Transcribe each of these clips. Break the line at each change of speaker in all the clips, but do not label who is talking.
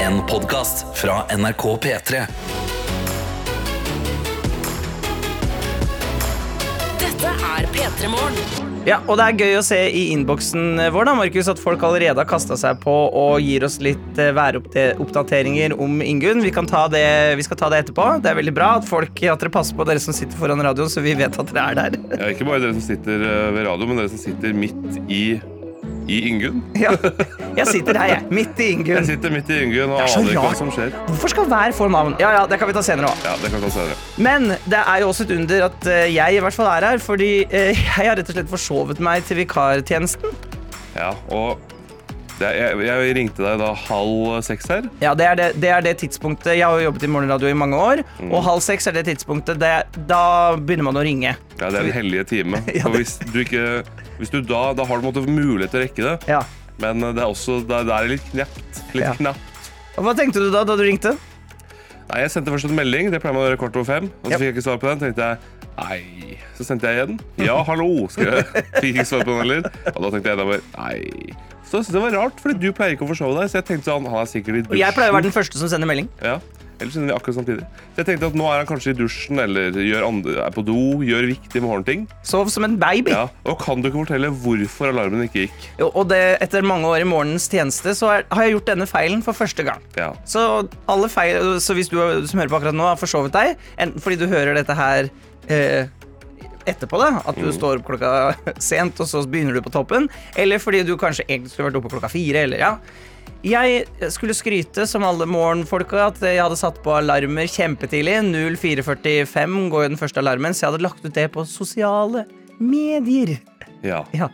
En podcast fra NRK P3
Dette er P3 Morgen.
Ja, og det er gøy å se i innboksen eh, vår da, Markus, at folk allerede har kasta seg på og gir oss litt eh, væroppdateringer om Ingunn. Vi, kan ta det, vi skal ta det etterpå. Det er veldig bra at folk at dere passer på dere som sitter foran radioen, så vi vet at dere er der.
Ja, ikke bare dere som sitter eh, ved radio, men dere som sitter midt i, i Ingunn.
Ja, jeg sitter her, jeg. Midt i
Jeg
Ingunn.
sitter midt i Ingunn og
Det er så
aner ikke hva
rart.
som skjer.
Hvorfor skal hver få navn? Ja, ja, det kan vi ta senere òg.
Ja, det kan vi ta senere.
Men det er jo også et under at eh, jeg i hvert fall er her, fordi eh, jeg har rett og slett forsovet meg til vikartjenesten.
Ja, og det, jeg, jeg ringte deg da halv seks her.
Ja, det er det, det er det tidspunktet Jeg har jo jobbet i morgenradio i mange år, og halv seks er det tidspunktet det, Da begynner man å ringe.
Ja, det er den hellige time.
Ja,
Og
det-
hvis du ikke Hvis du da Da har du på en måte mulighet til å rekke det,
Ja.
men eh, det er også Det er, det er litt knept. Litt
Ja.
knapt.
Og hva tenkte du da da du ringte?
Nei, jeg sendte først en melding. Det pleier man å gjøre kvart over fem. Og så
Ja.
fikk jeg ikke svar på den. tenkte jeg Nei. Så sendte jeg igjen. Ja, hallo, skrev jeg. Fikk ikke svar på den heller. Og da tenkte jeg enda mer Nei. Så jeg syntes det var rart, fordi du pleier ikke å forsove deg. Så jeg tenkte sånn, han er sikkert i
Og
dusjen.
jeg pleier å være den første som sender melding.
Ja, Ellers sender vi akkurat samtidig. Så jeg tenkte at nå er han kanskje i dusjen eller gjør andre, er på do, gjør viktige morgenting.
Sov som en baby.
Ja, Og kan du ikke fortelle hvorfor alarmen ikke gikk?
Jo, Og det, etter mange år i morgenens tjeneste så er, har jeg gjort denne feilen for første gang.
Ja.
Så, alle feil, så hvis du som hører på akkurat nå har forsovet deg, enten fordi du hører dette her eh, etterpå, da, at du står opp klokka sent og så begynner du på toppen, eller fordi du kanskje egentlig skulle vært oppe klokka fire, eller ja. Jeg skulle skryte som alle morgenfolka at jeg hadde satt på alarmer kjempetidlig. 04.45 går jo den første alarmen, så jeg hadde lagt ut det på sosiale medier.
ja.
Ja.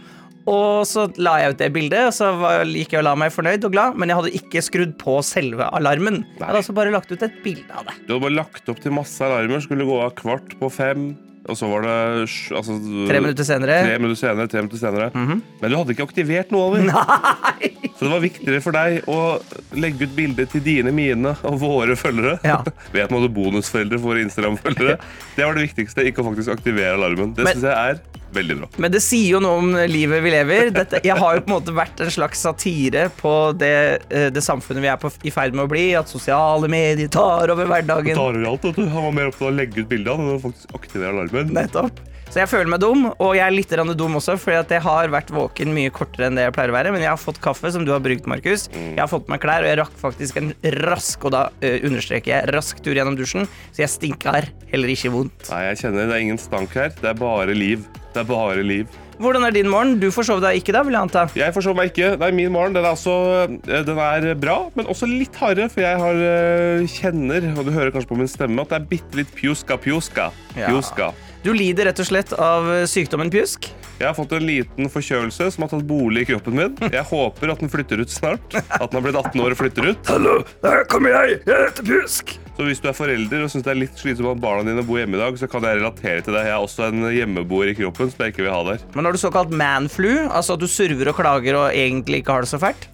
Og så la jeg ut det bildet, og så var- gikk jeg og la meg fornøyd og glad, men jeg hadde ikke skrudd på selve alarmen. Jeg hadde altså bare lagt ut et bilde av det.
Du hadde bare lagt opp til masse alarmer. Skulle gå av kvart på fem. Og så var det sj- altså,
Tre minutter
Tre
senere.
minutter senere, tre minutter senere.
Mhm.
Men du hadde ikke aktivert noe av det. Så det var viktigere for deg å legge ut bilder til dine, mine og våre følgere.
Ja.
Vet man hadde bonusforeldre for Instagram-følgere. Det var det viktigste. Ikke å faktisk aktivere alarmen. Det
Men-
syns jeg er veldig bra.
Men det sier jo noe om livet vi lever. Dette, jeg har jo på en måte vært en slags satire på det, eh, det samfunnet vi er på, i ferd med å bli. At sosiale medier tar over hverdagen.
Tar over alt, vet du. Han var mer opptatt av å legge ut bilder enn å faktisk aktivere alarmen.
Nettopp. Så jeg føler meg dum, og jeg er litt grann dum også, fordi at jeg har vært våken mye kortere enn det jeg pleier å være. Men jeg har fått kaffe, som du har brukt, Markus. Jeg har fått på meg klær, og jeg rakk faktisk en rask, og da eh, understreker jeg, rask tur gjennom dusjen. Så jeg stinker heller ikke vondt.
Nei, jeg kjenner det er ingen stank her. Det er bare liv. Det er bare liv.
Hvordan er din morgen? Du forsov deg ikke da, vil jeg anta?
Jeg forsov meg ikke. Nei, min morgen den er, også, den er bra, men også litt hardere. For jeg har, eh, kjenner, og du hører kanskje på min stemme, at det er bitte litt pjuska, pjuska.
Ja.
pjuska.
Du lider rett og slett av eh, sykdommen pjusk.
Jeg har fått en liten forkjølelse som har tatt bolig i kroppen min. Jeg håper at den flytter ut snart. At den har blitt 18 år og flytter ut.
Hallo, der kommer jeg! Jeg heter Pjusk!
Så hvis du er forelder og syns det er litt slitsomt at barna dine bor hjemme i dag, så kan jeg relatere til deg. Jeg er også en hjemmeboer i kroppen som jeg ikke vil ha der.
Men har du såkalt manflu? Altså at du surver og klager og egentlig ikke har det så fælt?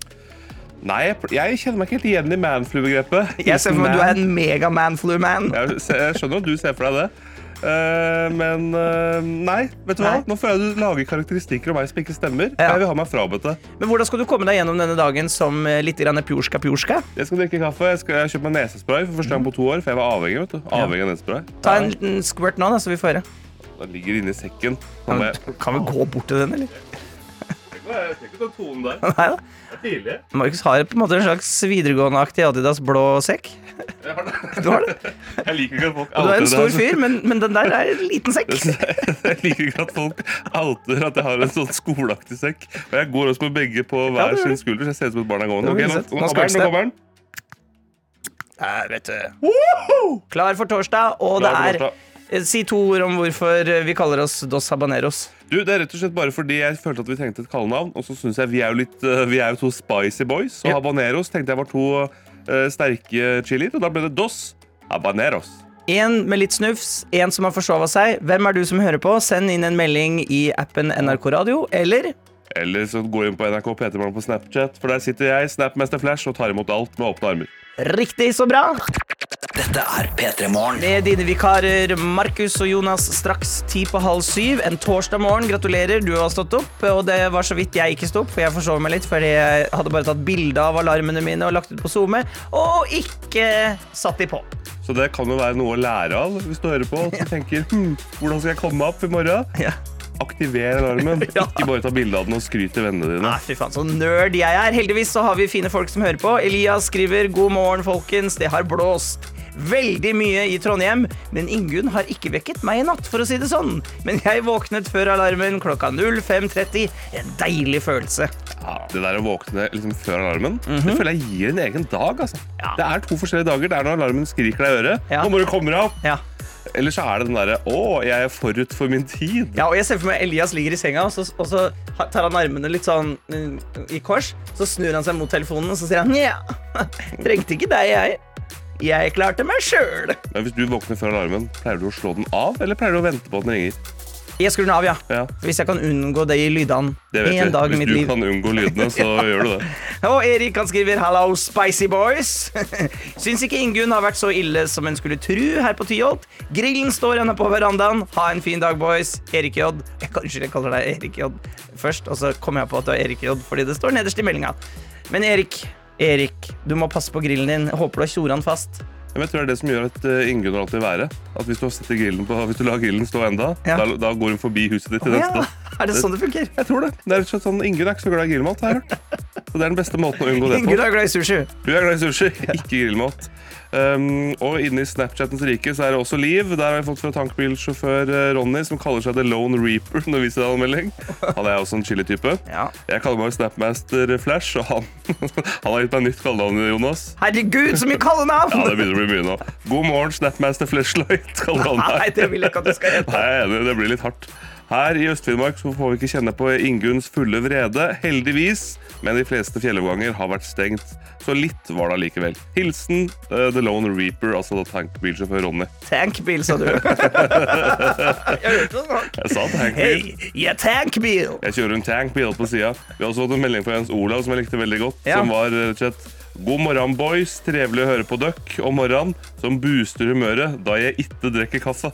Nei, jeg, pl- jeg kjenner meg ikke helt igjen i manflu-begrepet.
Jeg ser for meg at du er en mega manflu-man.
Jeg, se- jeg skjønner at du ser for deg det. Eh, men eh, nei, vet du hva?
Nei.
Nå føler jeg du lager karakteristikker om meg som ikke stemmer.
Ja.
Jeg vil ha meg frabedt det.
Men hvordan skal du komme deg gjennom denne dagen som eh, litt grann pjorska pjorska?
Jeg skal drikke kaffe. Jeg skal jeg har kjøpt meg nesespray for første gang på to år. For jeg var avhengig, vet du. Avhengig av nesespray.
Ta en liten squirt nå, da, så vi får høre.
Den ligger inni sekken. Nå
Ja,
må
men,
jeg
Kan vi gå bort til den, eller?
Jeg skal ikke ta tonen der.
Nei da.
Det er tidlig.
Markus har på en måte en slags videregående-aktig Adidas blå sekk.
Jeg har det.
Du har det.
Jeg liker ikke at folk
Og du er en
outer
stor
det.
fyr, men, men den der er en liten sekk.
Jeg liker ikke at folk outer at jeg har en sånn skoleaktig sekk. Og jeg går også med begge på
Ja,
hver
det gjør
sin
det.
skulder, så jeg ser ut som et barn av gående.
Det
Ok,
blir
nå,
sett.
nå
Nå skal
kommer den, nå
det.
kommer den.
Her, vet du. Klar for torsdag, og det
Klar for
er eh, Si to ord om hvorfor eh, vi kaller oss Dos Habaneros.
Du, Det er rett og slett bare fordi jeg følte at vi trengte et kallenavn. Og så syns jeg vi er jo litt eh, Vi er jo to spicy boys. Og
Ja.
habaneros tenkte jeg var to eh, sterke chilier. Og da ble det dos habaneros.
Én med litt snufs, én som har forsova seg. Hvem er du som hører på? Send inn en melding i appen NRK Radio, eller
Eller så gå inn på NRK P3 Morgen på Snapchat, for der sitter jeg, Snapmester Flash, og tar imot alt med åpne armer.
Riktig så bra!
Dette er P3 Morgen.
Med dine vikarer Markus og Jonas straks ti på halv syv en torsdag morgen. Gratulerer, du har stått opp. Og det var så vidt jeg ikke sto opp, for jeg forsov meg litt fordi jeg hadde bare tatt bilde av alarmene mine og lagt ut på SoMe, og ikke satt de på.
Så det kan jo være noe å lære av hvis du hører på og tenker hm, hvordan skal jeg komme meg opp i morgen?
Ja.
Aktiver alarmen.
Ja.
Ikke bare ta bilde av den og skryt til vennene dine.
Nei, fy faen, så nerd jeg er. Heldigvis så har vi fine folk som hører på. Elias skriver 'God morgen, folkens'. Det har blåst veldig mye i Trondheim, men Ingunn har ikke vekket meg i natt, for å si det sånn. Men jeg våknet før alarmen klokka 05.30. En deilig følelse.
Ja, det der å våkne liksom før alarmen, det føler jeg gir en egen dag. Altså.
Mhm. Ja.
Det er to forskjellige dager. Det er når alarmen skriker deg i øret.
Ja.
Nå må du komme deg opp!
Ja.
Eller så er det den derre Å, jeg er forut for min tid.
ja, og jeg ser for meg Elias ligger i senga, og så, og så ha- tar han armene litt sånn mm, i kors. Så snur han seg mot telefonen, og så sier han 'nja, trengte ikke deg, jeg'. Jeg klarte meg sjøl.
Men hvis du våkner før alarmen, pleier du å slå den av, eller pleier du å vente på at den ringer?
Jeg skrur den av, ja.
Ja,
Hvis jeg kan unngå de lydene
det vet
en
vi.
dag i
Hvis
mitt
du
liv.
kan unngå lydene, så gjør du det.
Og Erik han skriver 'Hallo, spicy boys'. Syns ikke Ingunn har vært så ille som en skulle tru her på Tyholt. Grillen står ennå på verandaen. Ha en fin dag, boys. Erik J. Jeg, kan- unnskyld, jeg kaller deg Erik J først, og så kommer jeg på at du er Erik J fordi det står nederst i meldinga. Men Erik, Erik, du må passe på grillen din. Jeg Håper du har tjoran fast.
Men jeg tror det er det som gjør at eh, Ingunn har alltid været. At hvis du, setter grillen på, hvis du lar grillen stå enda,
Ja.
da, da går hun forbi huset ditt til
Ja,
neste.
er det sånn det funker?
Jeg tror det. Det er rett og slett sånn, Ingunn er ikke så glad i grillmat. har jeg hørt. Så det er den beste måten å unngå det på.
Ingunn er glad i sushi.
Du er glad i sushi, ikke grillmat. Um, og inne i Snapchattens rike så er det også liv. Der har vi fått fra tankbilsjåfør eh, Ronny, som kaller seg The Lone Reaper. når vi ser Han melding. Han er også en chilly type.
Ja.
Jeg kaller meg Snapmaster Flash, og han, han har gitt meg nytt kallenavn, Jonas.
Herregud, så mye kallenavn!
Ja, det begynner å bli mye nå. God morgen, Snapmaster Flashlight, kaller han
Nei,
meg.
det vil jeg ikke at du skal hete.
Nei, jeg er enig, det blir litt hardt. Her i Øst-Finnmark så får vi ikke kjenne på Ingunns fulle vrede, heldigvis. Men de fleste fjelloverganger har vært stengt, så litt var det allikevel. Hilsen eh, The Lone Reaper, altså da tankbilsjåfør Ronny.
Tankbil, sa du. jeg hørte det nok.
Jeg sa tankbil.
Hei, jeg er tankbil!
Jeg kjører en tankbil på sida. Vi har også fått en melding fra Jens Olav som jeg likte veldig godt.
Ja.
Som var eh, rett og slett God morgen, boys. Trevelig å høre på døkk om morgenen. Som booster humøret da jeg ikke drikker kaffe.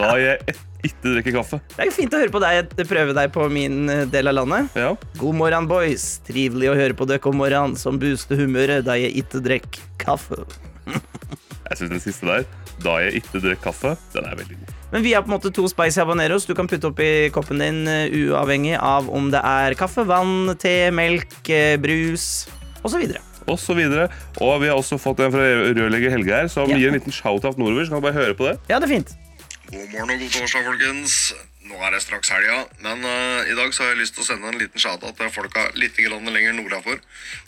Da jeg et- ikke drikker kaffe.
Det er jo fint å høre på deg, prøve deg på min eh, del av landet.
Ja.
God morgen, boys. Trivelig å høre på dere om morgenen, som booster humøret da jeg ikke drekk kaffe.
Jeg synes den siste der, da jeg ikke drekk kaffe, den er veldig god.
Men vi er på en måte to spicy habaneros du kan putte oppi koppen din, eh, uavhengig av om det er kaffe, vann, te, melk, eh, brus osv.
Og så videre. Og vi har også fått en fra rørlegger Helge her, som
Ja.
gir en liten shout-out nordover. Så kan du bare høre på det.
Ja, det er fint.
God morgen og god torsdag, folkens. Nå er det straks helga, men eh, i dag så har jeg lyst til å sende en liten shout-out til folka litt grann lenger nordafor.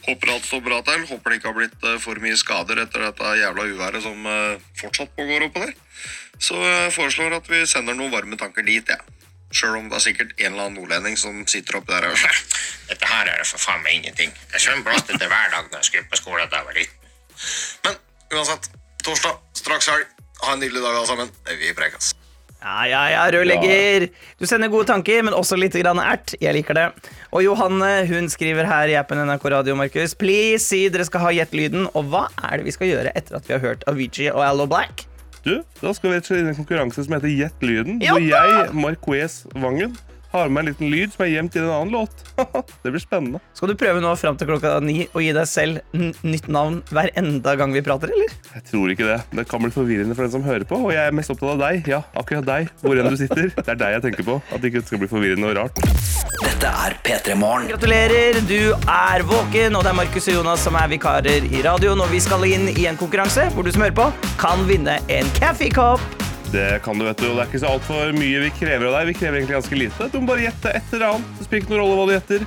Håper alt står bra til. Håper det ikke har blitt eh, for mye skader etter dette jævla uværet som eh, fortsatt pågår oppå der. Så jeg foreslår at vi sender noen varme tanker dit, jeg. Ja. Sjøl om det er sikkert en eller annen nordlending som sitter oppi der og
Dette her er det for faen meg ingenting. Jeg skjønner blåste til hver dag når jeg skulle på skolen da jeg var liten.
Men uansett, torsdag, straks helg. Ha en nydelig dag, alle sammen. Vi prekes.
Ja, ja, ja, rørlegger. Du sender gode tanker, men også litt grann ert. Jeg liker det. Og Johanne hun skriver her i appen NRK Radio, Markus. Please si dere skal ha Gjett-lyden. Og hva er det vi skal gjøre etter at vi har hørt Avicii og Allo Black?
Du, da skal vi rett og slett inn i en konkurranse som heter Gjett lyden.
Ja
Hvor
da!
jeg, Marquez Vangen, har med en liten lyd som er gjemt i en annen låt. det blir spennende.
Skal du prøve nå fram til klokka ni å gi deg selv n nytt navn hver enda gang vi prater, eller?
Jeg tror ikke det. Det kan bli forvirrende for den som hører på. Og jeg er mest opptatt av deg. Ja, akkurat deg. Hvor enn du sitter. Det er deg jeg tenker på. At det ikke skal bli forvirrende og rart.
Dette er P3 Morgen.
Gratulerer, du er våken, og det er Markus og Jonas som er vikarer i radioen. Og vi skal inn i en konkurranse hvor du som hører på, kan vinne en kaffekopp.
Det kan du, vet du. Og det er ikke så altfor mye vi krever av deg. Vi krever egentlig ganske lite. Du må bare gjette et eller annet. Det spiller ikke noen rolle hva du gjetter.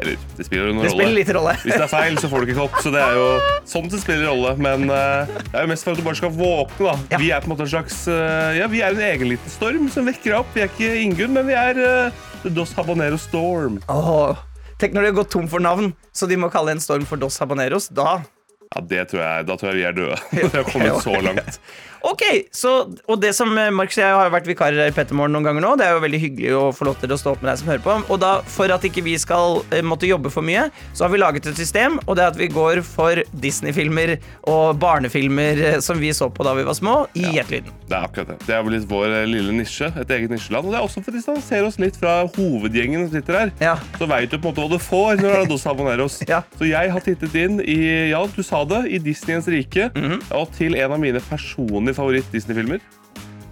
Eller, det spiller jo noen
Det
rolle.
spiller litt rolle.
Hvis det er feil, så får du ikke kopp. Så det er jo sånn det spiller rolle. Men eh, det er jo mest for at du bare skal våkne, da.
Ja.
Vi er på en måte en slags eh, Ja, vi er en egen liten storm som vekker deg opp. Vi er ikke Ingunn, men vi er eh, The Dos Habanero Storm.
Åh, tenk når de har gått tom for navn, så de må kalle en storm for Dos Habaneros. Da.
Ja, det tror jeg, Da tror jeg vi er døde. Vi har kommet så langt.
Ok, så, og det som eh, Markus og jeg har vært vikarer her i Pettermorgen noen ganger nå, det er jo veldig hyggelig å få lov til å stå opp med deg som hører på, og da, for at ikke vi skal eh, måtte jobbe for mye, så har vi laget et system, og det er at vi går for Disney-filmer og barnefilmer eh, som vi så på da vi var små, i Gjetlyden.
Det er akkurat det. Det er vel litt vår eh, lille nisje. Et eget nisjeland. Og det er også for å distansere oss litt fra hovedgjengen som sitter her.
Ja.
Så veit du på en måte hva du får når du er Dos Habaneros.
Ja.
Så jeg har tittet inn i ja, du sa det, i Disneyens rike,
Mhm.
og til en av mine personlige favoritt-Disney-filmer.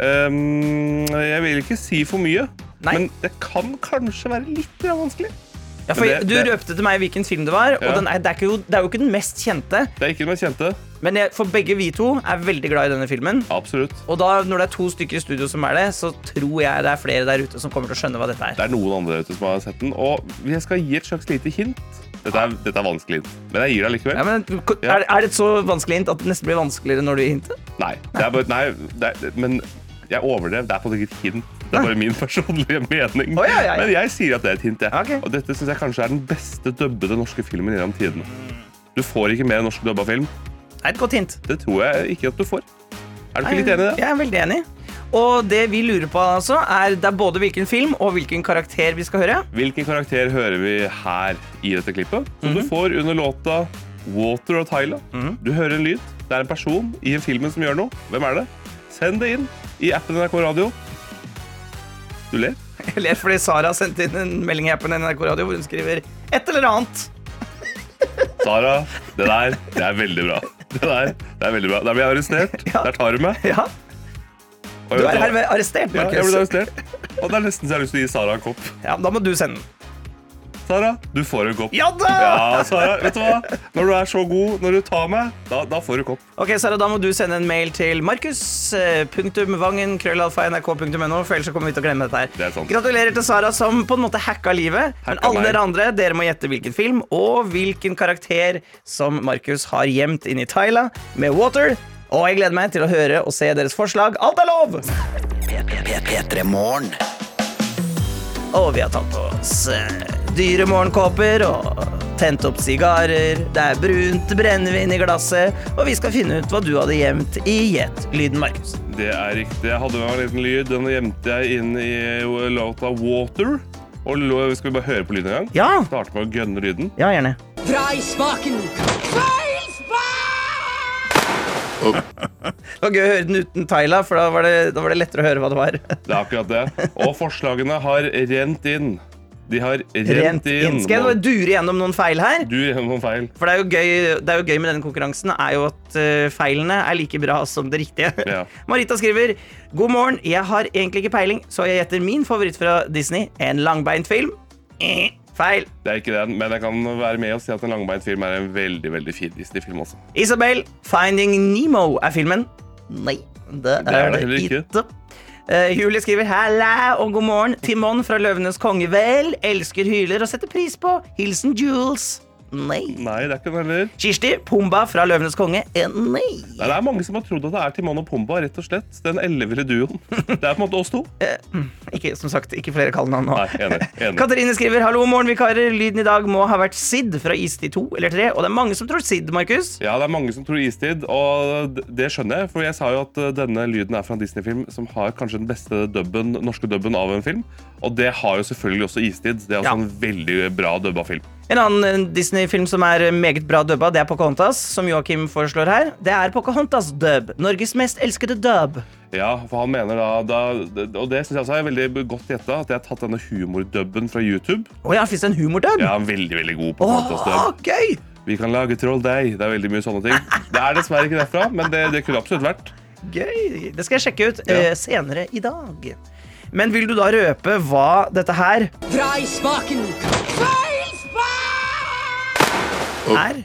Ehm, jeg vil ikke si for mye,
Nei.
men det kan kanskje være litt grann vanskelig.
Ja, for
Men det-
Du
det-
røpte til meg hvilken film det var,
Ja.
og den er, det, er ikke jo, det er jo ikke den mest kjente,
Det er ikke den jeg kjente.
men jeg, for begge vi to er veldig glad i denne filmen,
Absolutt.
og da, når det er to stykker i studio som er det, så tror jeg det er flere der ute som kommer til å skjønne hva dette er.
Det er noen andre der ute som har sett den, og jeg skal gi et slags lite hint. Dette er, dette er vanskelig, hint, men jeg gir det allikevel.
Ja, men,
Ja.
er, er det et så vanskelig hint at det nesten blir vanskeligere når du gir hintet?
Nei, det er bare, nei det er, men jeg overdrev. Det er på en måte ikke et hint. Det er bare min personlige mening.
Å, ja, ja, ja.
Men jeg sier at det er et hint. Jeg.
Ok.
Og dette syns jeg kanskje er den beste dubbede norske filmen gjennom tidene. Du får ikke mer norsk dubba film.
Det er et godt hint.
Det tror jeg ikke at du får. Er du ikke litt enig i det?
Jeg er veldig enig. Og det vi lurer på, altså, er det er både hvilken film og hvilken karakter vi skal høre.
Hvilken karakter hører vi her i dette klippet? Som
Mhm.
du får under låta Water og Tyla. Du hører en lyd. Det er en person i en filmen som gjør noe. Hvem er det? Send det inn i appen NRK Radio. Du ler.
Jeg ler fordi Sara sendte inn en melding her på NRK Radio hvor hun skriver et eller annet.
Sara, det der, det er veldig bra. Det der, det er veldig bra. Der blir jeg arrestert.
Ja.
Der tar du meg.
Ja,
Og
Du er
jeg vet hva-
herved arrestert,
Ja, jeg ble
Markus.
arrestert. Og det er nesten så jeg har lyst til å gi Sara en kopp.
Ja, da må du sende den.
Sara, du får en kopp.
Ja da!
Ja, altså. Sara, vet du hva? Når du er så god, når du tar meg, da, da får du kopp.
Ok, Sara, da må du sende en mail til eh, markus.vangen.krøllalfa.nrk.no, for ellers så kommer vi til å glemme dette her.
Det er sant.
Gratulerer til Sara, som på en måte hacka livet. men
Hacka
alle
meg.
dere andre, dere må gjette hvilken film og hvilken karakter som Markus har gjemt inn i Thaila med Water. Og jeg gleder meg til å høre og se deres forslag. Alt er lov!
P3morgen.
Og vi har tatt på oss eh, dyre morgenkåper og tent opp sigarer. Det er brunt brennevin i glasset, og vi skal finne ut hva du hadde gjemt i Gjett lyden, Markus.
Det er riktig. Jeg hadde med meg en liten lyd. Den gjemte jeg inn i låta Water. Og lo- skal vi bare høre på lyden en gang?
Ja.
Starte med å gønne lyden.
Ja, gjerne. Det var gøy å høre den uten Thaila, for da var, det, da var det lettere å høre hva det var.
Det er akkurat det. Og forslagene har rent inn. De har rent,
Rent inn. Skal jeg bare dure gjennom noen feil her?
Du gjør noen feil.
For det er jo gøy, det er jo gøy med denne konkurransen er jo at eh, feilene er like bra som det riktige.
Ja.
Marita skriver God morgen, jeg har egentlig ikke peiling, så jeg gjetter min favoritt fra Disney. En langbeint film. Eh, feil.
Det er ikke den, men jeg kan være med og si at en langbeint film er en veldig veldig fin Disney-film også.
Isabel, Finding Nemo er filmen. Nei, det er det,
er det heller ikke.
ikke. Eh, Julie skriver Halla og god morgen. Timon fra Løvenes konge, vel. Elsker hyler og setter pris på. Hilsen Jules. Nei.
Nei, det er ikke den heller.
Kirsti, Pumba fra Løvenes konge. Eh, Nei.
Nei, det er mange som har trodd at det er Timon og Pumba, rett og slett. Den elleville duoen. Det er på en måte oss to.
Ikke, som sagt, ikke flere kallenavn nå.
Nei, enig. enig.
Katarine skriver Hallo, morgenvikarer. Lyden i dag må ha vært Sid fra Istid 2 eller 3. Og det er mange som tror Sid, Markus.
Ja, det er mange som tror istid, og d- det skjønner jeg. For jeg sa jo at eh, denne lyden er fra en Disney-film som har kanskje den beste dubben, norske dubben av en film. Og det har jo selvfølgelig også istid. Det er også
Ja.
en veldig bra dubba film.
En annen eh, Disney-film som er eh, meget bra dubba, det er Pocahontas, som Joakim foreslår her. Det er Pocahontas dub. Norges mest elskede dub.
Ja, for han mener da, da Og det syns jeg også er veldig godt gjetta, at jeg har tatt denne humordubben fra YouTube.
Å ja, fins det en humordub?
Jeg er veldig, veldig god på
Åh, ah,
fantasdub.
gøy!
Vi kan lage trolldeig. Det er veldig mye sånne ting. Det er dessverre ikke derfra, men det, det kunne absolutt vært.
Gøy! Det skal jeg sjekke ut
Ja.
eh, senere i dag. Men vil du da røpe hva dette her er?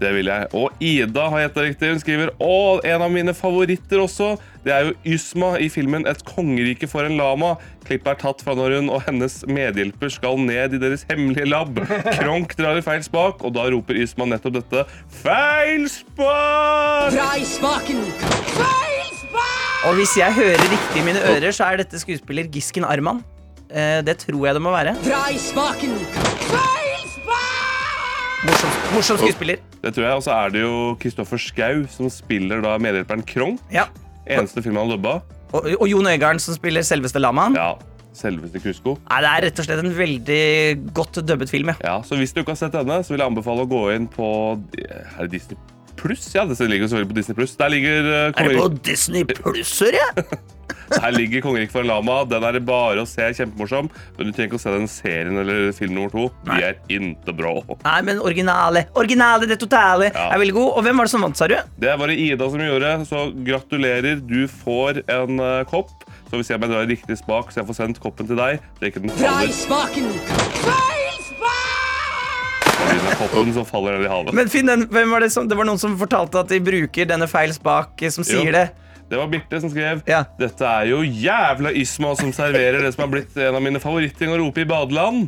Det vil jeg. Og Ida har gjetta riktig. Hun skriver å, en av mine favoritter også. Det er jo Ysma i filmen 'Et kongerike for en lama'. Klippet er tatt fra når hun og hennes medhjelper skal ned i deres hemmelige lab. Kronk drar i feil spak, og da roper Ysma nettopp dette. Feil spak!
Og hvis jeg hører riktig i mine ører, så er dette skuespiller Gisken Arman. Eh, det tror jeg det må være. Morsom, morsom skuespiller.
Det tror jeg, Og så er det jo Kristoffer Schau som spiller da medhjelperen Kronk.
Ja.
Eneste film han dubba.
Og, og Jon Øigarden, som spiller selveste lamaen.
Ja, selveste Kusko.
Nei, det er rett og slett en veldig godt dubbet film. Ja.
Ja, så hvis du ikke har sett denne, så vil jeg anbefale å gå inn på Er det Disney Pluss? Ja, det ligger jo selvfølgelig på Disney Pluss. Der ligger eh,
Er det på
Kongerik,
Disney Pluss, hører jeg?
der ligger Kongerik for en lama. Den er det bare å se. Kjempemorsom. Men du trenger ikke å se den serien eller film nummer to. De er inte bra.
Nei, men originale. Originale, det totale.
Ja.
Er veldig god. Og hvem var det som vant, sa du?
Det var det Ida som gjorde, så gratulerer. Du får en eh, kopp. Så hvis jeg bare drar i riktig smak, så jeg får sendt koppen til deg så ikke den faller, Hvis den er koppen, så faller den i havet.
Men Finn, den, hvem var det, som, det var noen som fortalte at de bruker denne feil spak eh, som sier
Jo.
det.
Det var Birte som skrev
Ja.
Dette er jo jævla Isma som serverer det som har blitt en av mine favorittting å rope i badeland.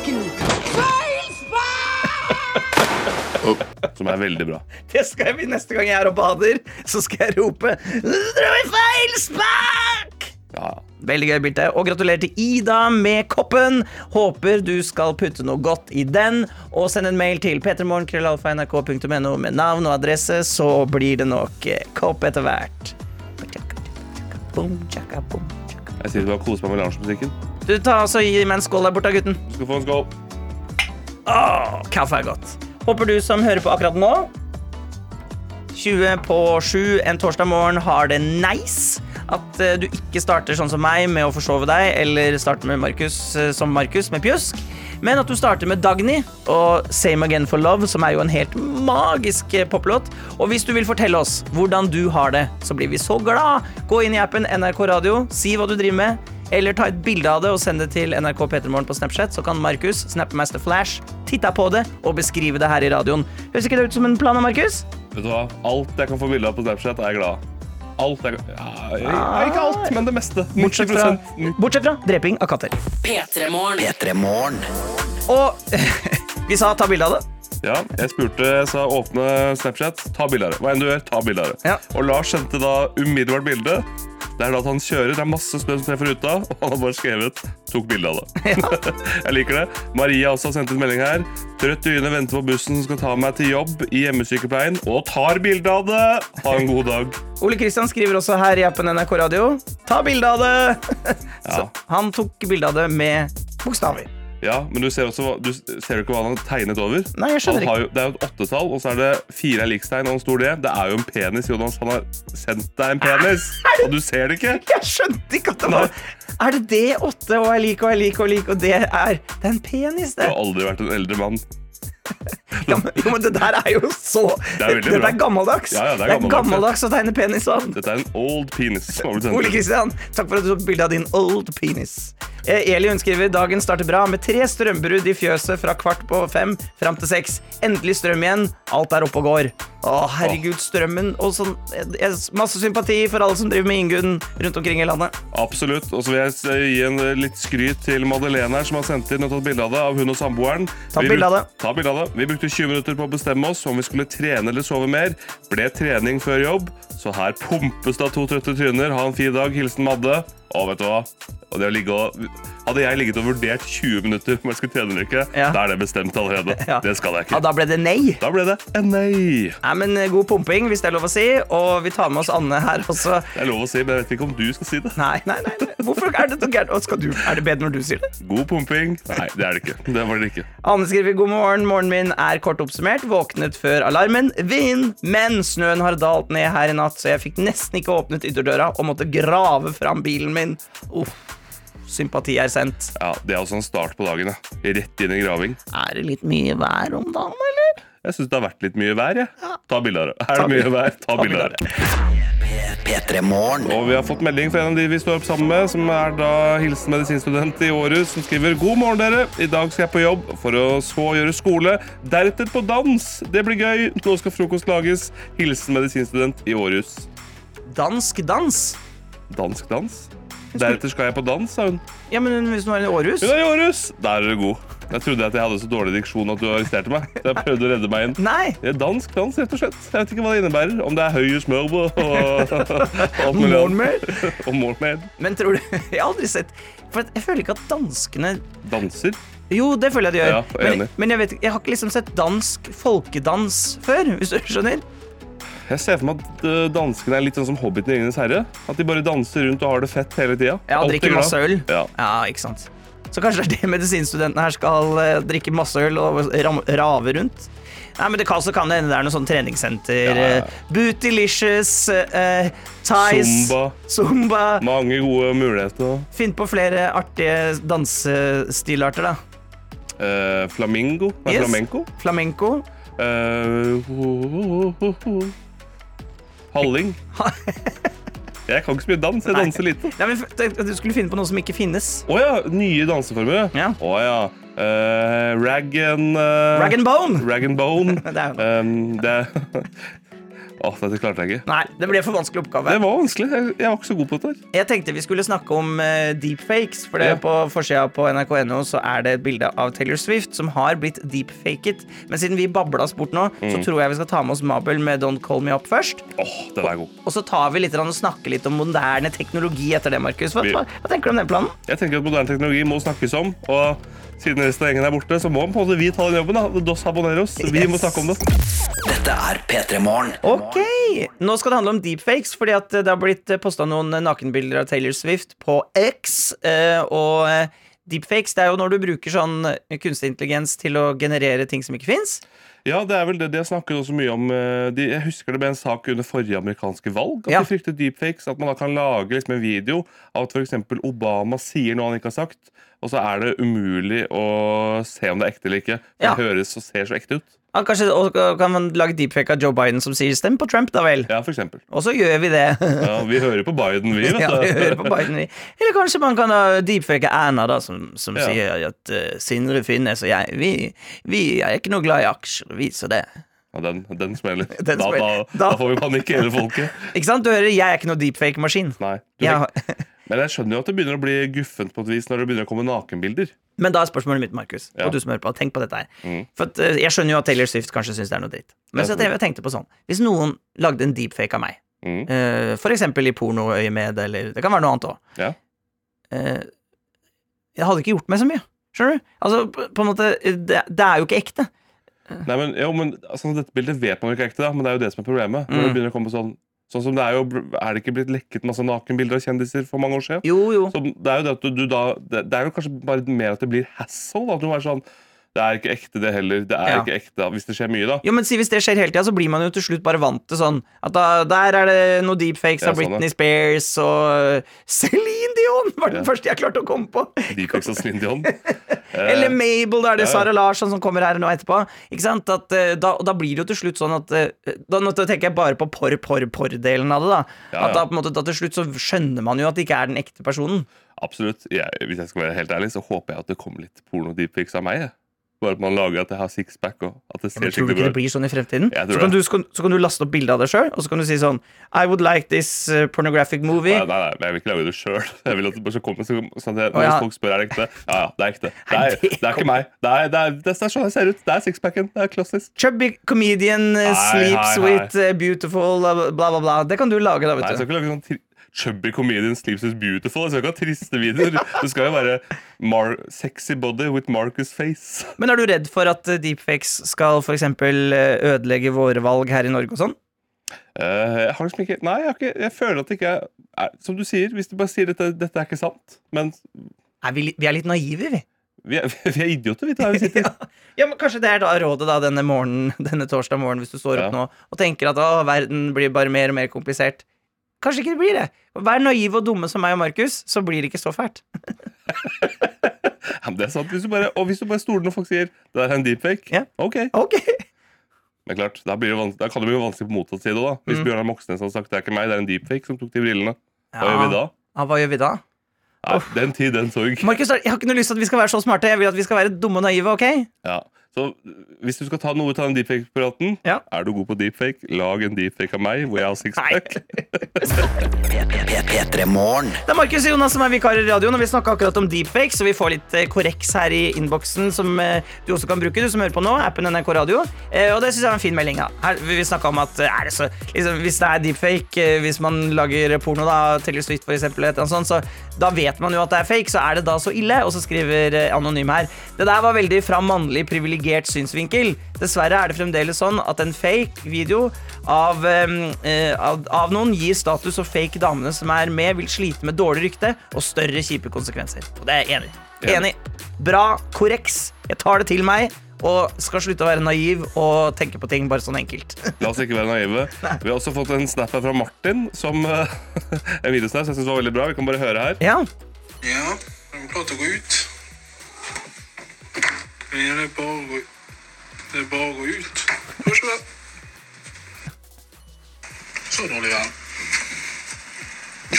Som er veldig bra.
Det skal jeg Neste gang jeg er og bader, så skal jeg rope Dere har feil spak!
Ja.
Veldig gøy bilde. Og gratulerer til Ida med koppen. Håper du skal putte noe godt i den. Og send en mail til p3morgen.nrk.no med navn og adresse, så blir det nok eh, kopp etter hvert. Boom, tjaka, boom, tjaka.
Jeg sitter bare og koser meg med loungemusikken.
Du, ta altså Gi meg en skål der borte, gutten.
Du skal få en skål.
Åh, kaffe er godt. Håper du som hører på akkurat nå 20 på 7 en torsdag morgen har det nice. At eh, du ikke starter sånn som meg med å forsove deg, eller starter med Markus eh, som Markus med pjusk. Men at du starter med Dagny og Same Again for Love, som er jo en helt magisk eh, poplåt. Og hvis du vil fortelle oss hvordan du har det, så blir vi så glad. Gå inn i appen NRK Radio, si hva du driver med, eller ta et bilde av det og send det til NRK Petermorgen på Snapchat, så kan Markus, Snapmaster Flash, titta på det og beskrive det her i radioen. Høres ikke det ut som en plan av Markus?
Vet du hva? Alt jeg kan få bilde av på Snapchat, er jeg glad. Alt jeg kan... Ja, jeg- jeg- ikke alt, men det meste.
Bortsett fra,
90%.
bortsett fra dreping av katter.
P3morgen.
P3 Morgen.
Og vi sa ta bilde av det.
Ja, jeg spurte, jeg sa åpne Snapchat, ta bilde av det. Hva enn du gjør, ta bilde av det.
Ja.
Og Lars sendte da umiddelbart bilde. Det er da at han kjører, det er masse snø som treffer ruta, og han har bare skrevet 'tok bilde av det'. jeg liker det. Maria også har sendt en melding her. Rødt dyne venter på bussen som skal ta meg til jobb i hjemmesykepleien, og tar bilde av det! Ha en god dag.
Ole Kristian skriver også her i appen NRK Radio ta bilde av det. Så
Ja.
han tok bilde av det med bokstaver.
Ja, men du ser, også, hva- du ser jo ikke hva han har tegnet over.
Nei, jeg skjønner
han har jo, det er jo et åttetall, og så er det fire er likstegn og en stor D. Det er jo en penis, Jonas. Han har sendt deg en penis, og du ser det ikke.
Jeg skjønte ikke at det var Er det det åtte og er lik og er lik og er lik, og det er Det er en penis, det.
Du har aldri vært en eldre mann.
Ja, men, jo, men det der er jo så
Det er veldig
Dette
bra.
er gammeldags.
Ja, ja, det
det er
er gammeldags,
gammeldags å tegne penis sånn.
Dette er en old penis. som har blitt sendt
Ole
ut.
Kristian, takk for at du tok bilde av din old penis. Eh, Eli hun skriver dagen starter bra med tre strømbrudd i fjøset fra kvart på fem fram til seks. Endelig strøm igjen. Alt er oppe og går. Å, herregud, strømmen og sånn. eh, eh, Masse sympati for alle som driver med Ingunn rundt omkring i landet.
Absolutt. Og så vil jeg s- gi en eh, litt skryt til Madeleine her, som har sendt inn og tatt bilde av det, av hun og samboeren.
Ta
Vi
bilde av
bruk-
det.
Ta bilde av det. Vi brukte 20 minutter på å bestemme oss om vi skulle trene eller sove mer. Ble trening før jobb, så her pumpes det av to trøtte tryner. Ha en fin dag. Hilsen Madde. Å, vet du hva? Og det å ligge og, hadde jeg ligget og vurdert 20 minutter om jeg skulle trene eller ikke,
Ja.
da er det bestemt allerede.
Ja.
Det skal jeg
Ja,
ikke.
da ble det nei.
Da ble det en nei.
Nei, men eh, God pumping, hvis det er lov å si. Og vi tar med oss Anne her også.
Det er lov å si, men jeg vet ikke om du skal si det.
Nei, nei, nei. nei. Hvorfor er det så gærent? Å, skal du- Er det bedre når du sier det?
God pumping. Nei, det er det ikke. Det var det ikke.
Anne skriver god morgen, morgenen min er kort oppsummert. Våknet før alarmen. Vind! Men snøen har dalt ned her i natt, så jeg fikk nesten ikke åpnet ytterdøra og måtte grave fram bilen min. Uff. Sympati er sendt.
Ja, Det er også en start på dagen. Ja. Rett inn i graving.
Er det litt mye vær om dagen, eller?
Jeg syns det har vært litt mye vær. jeg. Ta bilde av det. Er
Ta
det mye
bilde.
vær, ta
Ta
bilde av
bilde av
det.
P3 Morgen.
Og vi har fått melding fra en av de vi står opp sammen med, som er da hilsen medisinstudent i Århus, som skriver God morgen, dere. I dag skal jeg på jobb for å så gjøre skole. Deretter på dans. Det blir gøy. Nå skal frokost lages. Hilsen medisinstudent i Århus.
Dansk dans?
Dansk dans. Deretter skal jeg på dans, sa hun.
Ja, men hvis nå er det Århus?
Hun er i Århus! Der er du god. Jeg trodde at jeg hadde så dårlig diksjon at du arresterte meg. Så jeg prøvde å redde meg inn.
Nei.
Det er dansk dans, rett og slett. Jeg vet ikke hva det innebærer. Om det er høye smørbrød og alt mulig annet.
Morgenmel?
Og morgenmel.
Men tror du Jeg har aldri sett For jeg føler ikke at danskene
Danser.
Jo, det føler jeg de gjør.
Ja, jeg er
men
enig.
men jeg, vet, ikke- jeg har ikke liksom sett dansk folkedans før, hvis du skjønner.
Jeg ser for meg at eh, danskene er litt sånn som hobbiten i Ringenes herre. At de bare danser rundt og har det fett hele tida.
Ja, og drikker masse øl.
Ja.
ikke sant. Så kanskje det er det medisinstudentene her skal eh, drikke masse øl og ram rave rundt. Nei, men det kan, så kan det hende det er noe sånn treningssenter.
Ja, ja, ja.
eh, Bootylicious, eh, Tice,
Zumba.
Zumba.
Mange gode muligheter.
Finn på flere artige dansestilarter, da.
Eh, flamingo? Nei,
Yes.
Flamenco?
Flamenco.
Eh, ho, ho, ho, ho. Halling. Jeg kan ikke så mye dans. Jeg danser lite.
Nei, men f- tenkte at Du skulle finne på noe som ikke finnes.
Å ja, nye danseformer.
Ja.
Å ja. Eh, rag and eh,
Rag and bone!
Rag and bone.
Det er jo-
Ehm, det er Åh, dette klarte jeg ikke.
Nei, det ble for vanskelig oppgave.
Det var vanskelig. Jeg, jeg var ikke så god på dette. her.
Jeg tenkte vi skulle snakke om eh, deepfakes. For det
Ja.
på forsida på nrk.no så er det et bilde av Taylor Swift som har blitt deepfaket. Men siden vi babla oss bort nå,
Mm.
så tror jeg vi skal ta med oss Mabel med Don't Call Me Up først.
Åh, den er god.
Og så tar vi litt grann og snakker litt om moderne teknologi etter det, Markus. Hva,
Vi-
hva, hva tenker du om den planen?
Jeg tenker at moderne teknologi må snakkes om. Og siden resten av gjengen er borte, så må på en måte vi ta den jobben. da. Dos habaneros. Vi må
Yes.
snakke om det.
Dette er P3 Morgen.
Ok, Nå skal det handle om deepfakes, fordi at eh, det har blitt posta noen nakenbilder av Taylor Swift på X. eh, Og eh, deepfakes det er jo når du bruker sånn kunstig intelligens til å generere ting som ikke fins.
Ja, det er vel det. De har snakket også mye om eh, de, Jeg husker det ble en sak under forrige amerikanske valg. At
Ja.
de fryktet deepfakes. At man da kan lage liksom, en video av at f.eks. Obama sier noe han ikke har sagt, og så er det umulig å se om det er ekte eller ikke. For
Ja.
Det høres og ser så ekte ut.
Ja, kanskje og, og kan man lage deepfake av Joe Biden som sier 'stem på Trump', da vel.
Ja, for eksempel.
Og så gjør vi det.
Ja, vi hører på Biden, vi, vet
Ja, vi hører
du.
på Biden, vi. Eller kanskje man kan ha deepfake Erna, da, som, som
Ja.
sier at eh, Sindre Finnes og jeg, vi, vi er ikke noe glad i aksjer, vi, så det
Ja, den, den smeller.
Den
da, da,
smeller.
da
Da-
får vi panikk i hele folket.
Ikke sant? Du hører 'jeg er ikke noe deepfake-maskin'.
Nei. Du,
Jeg har-
Men jeg skjønner jo at det begynner å bli guffent på et vis når det begynner å komme nakenbilder.
Men da er spørsmålet mitt, Markus,
Ja. Mm.
og du som hører på, tenk på dette her. For at, eh, jeg skjønner jo at Taylor Swift kanskje syns det er noe dritt. Men så drev jeg og tenkte på sånn Hvis noen lagde en deepfake av meg,
Mm.
eh, for eksempel i pornoøyemed, eller det kan være noe annet òg,
Ja.
jeg hadde ikke gjort meg så mye. Skjønner du? Altså, på, på en måte, det, det er jo ikke ekte.
Nei, men, jo, men altså, Dette bildet vet man jo ikke er ekte, da, men det er jo det som er problemet. Når
Mm.
det begynner å komme sånn Sånn som det Er jo Er det ikke blitt lekket masse nakenbilder av kjendiser for mange år siden?
Jo, jo.
Så det er jo det at du, du da det, det er jo kanskje bare mer at det blir hassle. Da, at du er sånn Det er ikke ekte, det heller. Det er
Ja.
ikke ekte da, Hvis det skjer mye, da.
Jo, men si Hvis det skjer hele tida, så blir man jo til slutt bare vant til sånn at da, der er det noe deepfakes
Ja,
av
sånn, ja.
Britney Spears og eh, Celine Dion var den
Ja.
første jeg klarte å komme på.
Deepfakes og Slindion.
Eller Mabel, da er det
Eh, ja, ja.
Sara Larsson som kommer her nå etterpå. Ikke sant? At, eh, da, og da blir det jo til slutt sånn at eh, Da, nå tenker jeg bare på porr-porr-porr-delen av det. da
Ja,
At da,
ja.
på en måte, da til slutt så skjønner man jo at det ikke er den ekte personen.
Absolutt. Jeg, hvis jeg skal være helt ærlig, så håper jeg at det kommer litt porno-deepfakes av meg. Jeg. Bare at man lager at jeg har sixpack, og at det ser
Men tror du
skikkelig
ikke
bra
det
ut.
blir sånn i fremtiden?
Jeg tror
Så kan,
det.
du, så, kan, så kan du laste opp bilde av deg sjøl, og så kan du si sånn I would like this eh, pornographic movie.
Nei, nei, nei, men jeg vil ikke lage det sjøl. Jeg vil at det bare skal komme så- sånn at
Å,
jeg, Når
ja.
folk spør er det ekte, ja ja, det er ekte. Det
Nei,
er,
det
det er ikke meg. Det er, det, er, det er sånn jeg ser ut. Det er sixpacken. Det er klassisk.
Chubby comedian eh,
Nei,
sleeps
nei, nei.
with eh, beautiful bla, bla, bla, bla. Det kan du lage, da,
Nei, jeg
vet
skal
du.
ikke lage sånn tri chubby comedian sleeps is beautiful. Jeg skal ikke ha triste videoer. Det skal jo være mar sexy body with Marcus face.
Men er du redd for at eh, deepfakes skal f.eks. ødelegge våre valg her i Norge og sånn?
Eh, jeg har liksom ikke Nei, jeg, har ikke, jeg føler at det ikke er, er Som du sier, hvis du bare sier dette, dette er ikke sant, men
Er vi, li- vi er litt naive, vi.
vi er, vi er idioter, vi, der vi sitter.
Ja, men Kanskje det er da rådet da denne morgenen, denne torsdag morgen hvis du står opp
Ja.
nå og tenker at å, verden blir bare mer og mer komplisert. Kanskje ikke det blir det. Vær naiv og dumme som meg og Markus, så blir det ikke så fælt.
Ja, men det er sant. Hvis du bare, og hvis du bare stoler når folk sier det der er en deepfake,
Ja.
ok.
Ok,
Men klart, da, blir det vans- da kan det bli vanskelig på motsatt side òg. Hvis Bjørnar Moxnes hadde sagt det er ikke meg, det er en deepfake som tok de brillene.
Mm.
Hva
Ja.
gjør vi da?
ja, Hva gjør vi da?
Nei, Den tid, den sorg.
Markus, jeg har ikke noe lyst til at vi skal være så smarte. Jeg vil at vi skal være dumme og naive. ok?
Ja. Så hvis du skal ta noe ut av den deepfake-praten,
Ja.
er du god på deepfake, lag en deepfake av meg hvor jeg har sixpack.
P3 Morgen.
Det er Markus og Jonas som er vikarer i radioen, og vi snakka akkurat om deepfake, så vi får litt eh, korreks her i innboksen som eh, du også kan bruke, du som hører på nå, appen NRK Radio. Eh, Og det syns jeg var en fin melding. da. Her, vi snakka om at eh, er det så, liksom, hvis det er deepfake, eh, hvis man lager porno, da, Taylor Swift for eksempel, eller et eller annet sånt, så da vet man jo at det er fake, så er det da så ille? Og så skriver eh, anonym her. Det der var veldig fra mannlig privilegerte privilegert synsvinkel. Dessverre er det fremdeles sånn at en fake video av, em, eh, av, av noen gir status, og fake damene som er med, vil slite med dårlig rykte og større kjipe konsekvenser. Og det er jeg enig i.
Enig.
Enig. Bra. Korreks. Jeg tar det til meg. Og skal slutte å være naiv og tenke på ting bare sånn enkelt.
La oss ikke være naive. Vi har også fått en snap her fra Martin, som eh, en videosnap som jeg synes var veldig bra. Vi kan bare høre her.
Ja,
Ja, er du klar til å gå ut? Ja, det er bare å gå Det er bare å gå ut. Går ikke det? Så dårlig vær.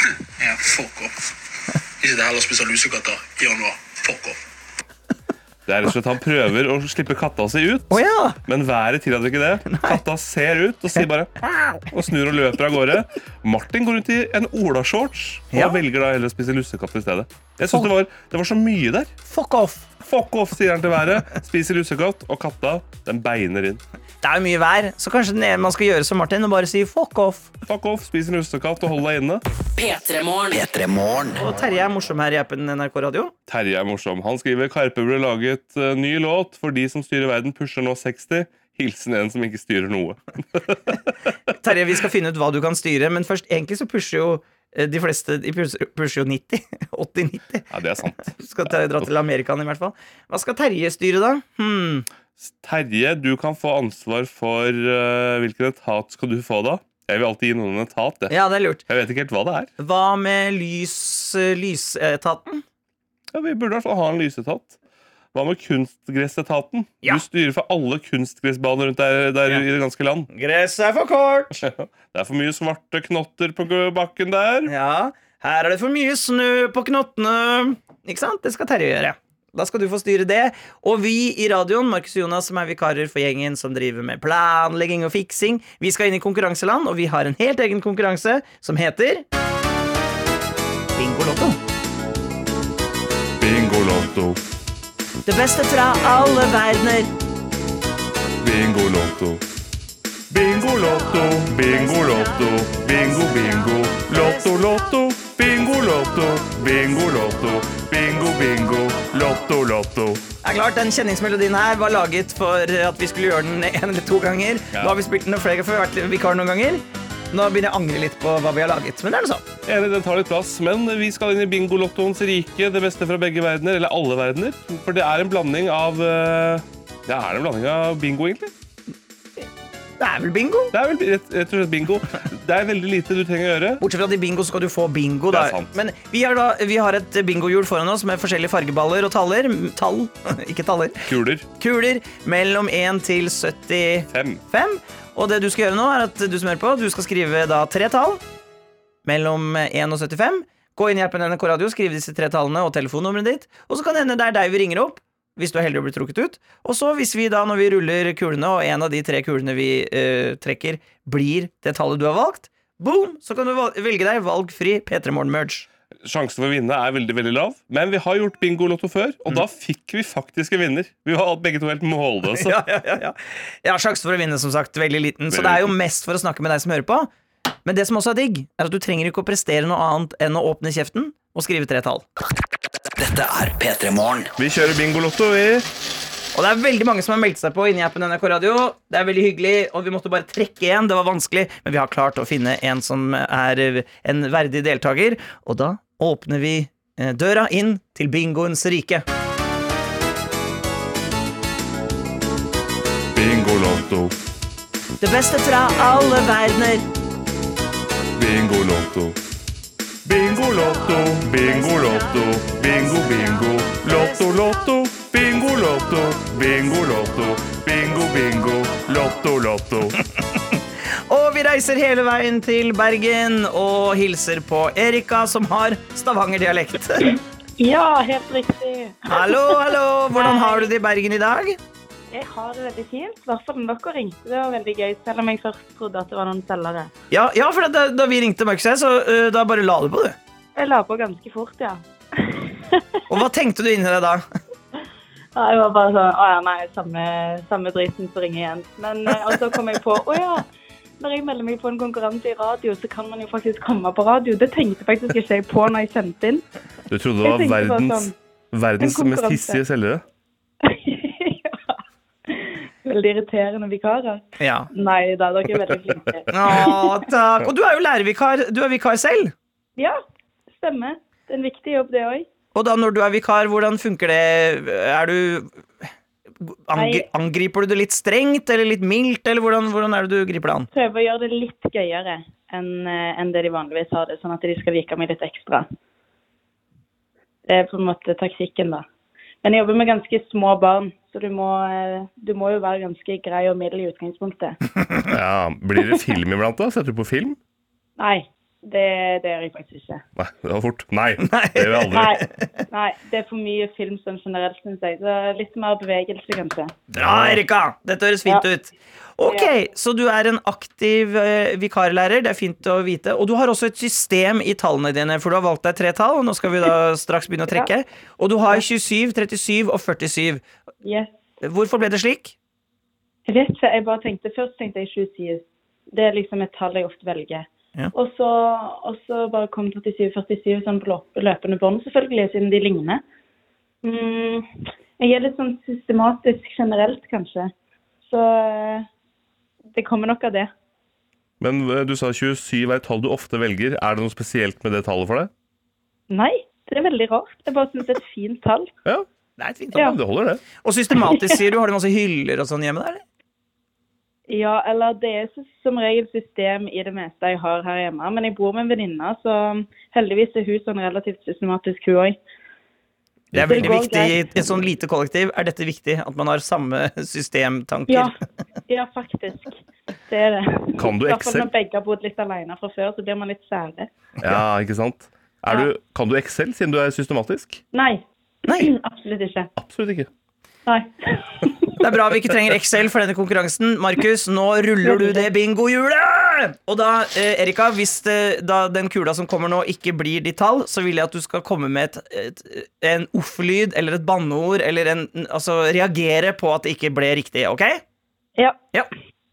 Ja, fuck off. Ikke det heller å spise lusekatter i januar. Fuck off.
Det er rett og slett Han prøver å slippe katta si ut,
Å ja.
men været tillater ikke det. Katta ser ut og sier bare «Au!» og snur og løper av gårde. Martin går ut i en olashorts og
Ja.
velger da heller å spise lussekatter i stedet. Jeg synes det, var, det var så mye der.
fuck off.
Fuck off, sier han til været. Spiser lussekatt, og katta den beiner inn.
Det er jo mye vær, så kanskje den ene man skal gjøre som Martin og bare si fuck off.
Fuck off, spiser lussekatt og hold deg inne.
P3morgen.
P3 Morgen.
Og Terje er morsom her i appen NRK Radio.
Terje er morsom. Han skriver Karpe ble laget eh, ny låt for de som styrer verden, pusher nå 60. Hilsen en som ikke styrer noe.
Terje, vi skal finne ut hva du kan styre, men først egentlig så pusher jo eh, de fleste de pusher, pusher jo 90. 80-90.
Ja, det er sant.
Skal Terje dra til Amerikan i hvert fall. Hva skal Terje styre, da? Hmm.
Terje, du kan få ansvar for eh, hvilken etat skal du få da? Jeg vil alltid gi noen en etat. Jeg.
Ja, det er lurt.
jeg vet ikke helt hva det er.
Hva med lys, eh, lysetaten?
Ja, vi burde i hvert fall ha en lysetat. Hva med kunstgressetaten?
Ja.
Du styrer for alle kunstgressbaner rundt der, der
Ja.
i det ganske land.
Gresset er for kort!
Det er for mye svarte knotter på bakken der.
Ja, her er det for mye snø på knottene. Ikke sant? Det skal Terje gjøre. Da skal du få styre det. Og vi i radioen, Markus og Jonas, som er vikarer for gjengen som driver med planlegging og fiksing, vi skal inn i konkurranseland, og vi har en helt egen konkurranse som heter Bingolotto.
Bingo lotto,
Det beste fra alle verdener.
bingo lotto. Bingo lotto, bingo lotto, bingo bingo. Lotto lotto, bingo lotto, bingo lotto, bingo bingo. Lotto lotto.
Det er klart, Den kjenningsmelodien her var laget for at vi skulle gjøre den en eller to ganger.
Ja.
Nå har vi spilt den flere ganger, for vi har vært vikar noen ganger. Nå begynner jeg å angre litt på hva vi har laget. Men det er noe sånn.
Enig, den tar litt plass, men vi skal inn i bingolottoens rike. Det beste fra begge verdener, eller alle verdener. For det er en blanding av eh, Det er en blanding av bingo, egentlig.
Det er vel bingo?
Det er vel rett, rett og slett bingo. Det er veldig lite du trenger å gjøre.
Bortsett fra at i bingo skal du få bingo.
Det
Da.
er sant.
Men vi har, da, vi har et bingohjul foran oss med forskjellige fargeballer og taller. m, Tall, ikke taller.
Kuler.
Kuler mellom 1 til 75.
Fem.
Og det du skal gjøre nå, er at du som hører på, du skal skrive da tre tall mellom 1 og 75. Gå inn i appen NRK Radio, skriv disse tre tallene og telefonnummeret ditt. Og så kan det hende det er deg vi ringer opp. Hvis du er heldig og blir trukket ut. Og så hvis vi da, når vi ruller kulene, og en av de tre kulene vi eh, trekker, blir det tallet du har valgt, boom, så kan du val- velge deg valgfri P3 Morgen-merge.
sjansen for å vinne er veldig veldig lav, men vi har gjort bingo-lotto før,
Mm.
og da fikk vi faktisk en vinner. Vi var begge to helt målløse.
Ja, ja, ja, ja. Jeg har sjanse for å vinne, som sagt. Veldig liten. Så det er jo mest for å snakke med deg som hører på. Men det som også er digg, er at du trenger ikke å prestere noe annet enn å åpne kjeften og skrive tre tall.
Dette er P3 Morgen.
Vi kjører bingo-lotto, vi.
Og det er veldig mange som har meldt seg på inni appen NRK Radio. Det er veldig hyggelig, og vi måtte bare trekke igjen. Det var vanskelig, men vi har klart å finne en som er eh, en verdig deltaker. Og da åpner vi eh, døra inn til bingoens rike.
Bingo-lotto,
Det beste fra alle verdener.
bingo-lotto. Bingo-lotto, bingo-lotto, bingo-bingo. Lotto-lotto, bingo-lotto, bingo-lotto, bingo-bingo. Lotto-lotto.
Og vi reiser hele veien til Bergen og hilser på Erika, som har stavangerdialekt.
Ja, helt riktig.
Hallo, hallo! Hvordan har du det i Bergen i dag?
Jeg har det veldig fint. I hvert fall når dere ringte. Det var veldig gøy, selv om jeg først trodde at det var noen selgere.
Ja, ja for da, da vi ringte Markus her, så eh, da bare la du på, du.
Jeg la på ganske fort, ja.
Og hva tenkte du inni deg da?
Ja, Jeg var bare sånn Å ja, nei, samme, samme driten som ringer igjen. Men eh, og så kom jeg på Å ja, når jeg melder meg på en konkurranse i radio, så kan man jo faktisk komme på radio. Det tenkte faktisk ikke jeg på når jeg sendte inn.
Du trodde
Jeg tenkte bare sånn, en konkurranse.
selgere?
ja. Veldig irriterende vikarer.
Ja.
Nei da, dere er veldig flinke.
Å, takk. Og du er jo lærervikar. Du er vikar selv.
Ja, stemmer. Det er en viktig jobb, det òg.
Og da når du er vikar, hvordan funker det? Er du angri,
Nei.
Angriper du det litt strengt eller litt mildt, eller hvordan, hvordan er det du griper det an?
Prøve å gjøre det litt gøyere enn eh, enn det de vanligvis har det, sånn at de skal like meg litt ekstra. Det er på en måte taktikken, da. Men jeg jobber med ganske små barn, så du må, eh, du må jo være ganske grei og middel i utgangspunktet.
Ja, Blir det film iblant, da? Setter du på film?
Nei, det, det gjør jeg faktisk ikke.
Nei, det var fort. Nei, det gjør jeg aldri.
Nei, nei, det er for mye film sånn generelt, syns jeg. Så litt mer bevegelse, kanskje.
Bra, Erika! Dette høres fint
Ja.
ut. Ok, Så du er en aktiv eh, vikarlærer, det er fint å vite. Og du har også et system i tallene dine, for du har valgt deg tre tall. og Nå skal vi da straks begynne å trekke. Og du har 27, 37 og 47.
Yes.
Hvorfor ble det slik?
Jeg vet ikke, jeg bare tenkte, Først tenkte jeg 27. Det er liksom et tall jeg ofte velger.
Ja.
Og, så, og så bare kom 37-47 sånn på løp- løpende bånd, selvfølgelig, siden de ligner. Mm, jeg er litt sånn systematisk generelt, kanskje. Så eh, det kommer nok av det.
Men eh, du sa 27 er et tall du ofte velger. Er det noe spesielt med det tallet for deg?
Nei, det er veldig rart. Jeg bare syns det er et fint tall.
Ja,
Det er et fint
ja.
tall.
det holder, det.
Og systematisk, sier du. Har du masse hyller og sånn hjemme der? eller?
Ja, eller det er så- som regel system i det meste jeg har her hjemme. Men jeg bor med en venninne, så mm, heldigvis er hun sånn relativt systematisk, hun òg.
Det er
Det
veldig
går
viktig i et sånn lite kollektiv. Er dette viktig? At man har samme systemtanker?
Ja, ja, faktisk. Det er det.
Kan du
I hvert fall
Excel?
Når begge har bodd litt alene fra før, så blir man litt sære.
Ja, ikke sant? Er du, kan du Excel, siden du er systematisk?
Nei,
Nei,
absolutt ikke.
Absolutt ikke.
Nei.
Det er bra vi ikke trenger Excel for denne konkurransen. Markus, nå ruller du det bingohjulet! Og da, eh, Erika, hvis det, da den kula som kommer nå, ikke blir ditt tall, så vil jeg at du skal komme med et, et, en off-lyd eller et banneord eller en Altså reagere på at det ikke ble riktig, OK?
Ja.
Ja.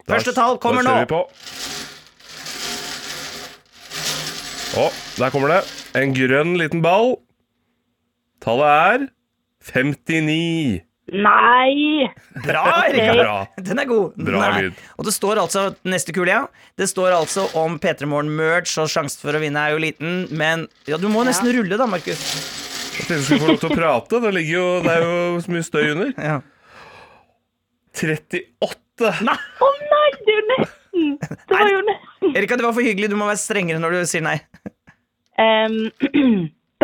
Første tall kommer
da
nå.
kjører vi på. Å, der kommer det. En grønn liten ball. Tallet er 59.
Nei!
Bra, Erika.
Bra.
Den er god. Den
Bra
er-
lyd.
Og det står altså neste kule, ja. Det står altså om P3 Morgen-merch, og sjansen for å vinne er jo liten, men ja, du må nesten rulle, da,
Jeg
Markus.
tenkte jeg skulle få lov til å prate. Det, ligger jo, det er jo så mye støy under.
Ja.
38.
Å nei, det er jo nesten! Det var jo nesten.
Erika, det var for hyggelig. Du må være strengere når du sier nei.
Um,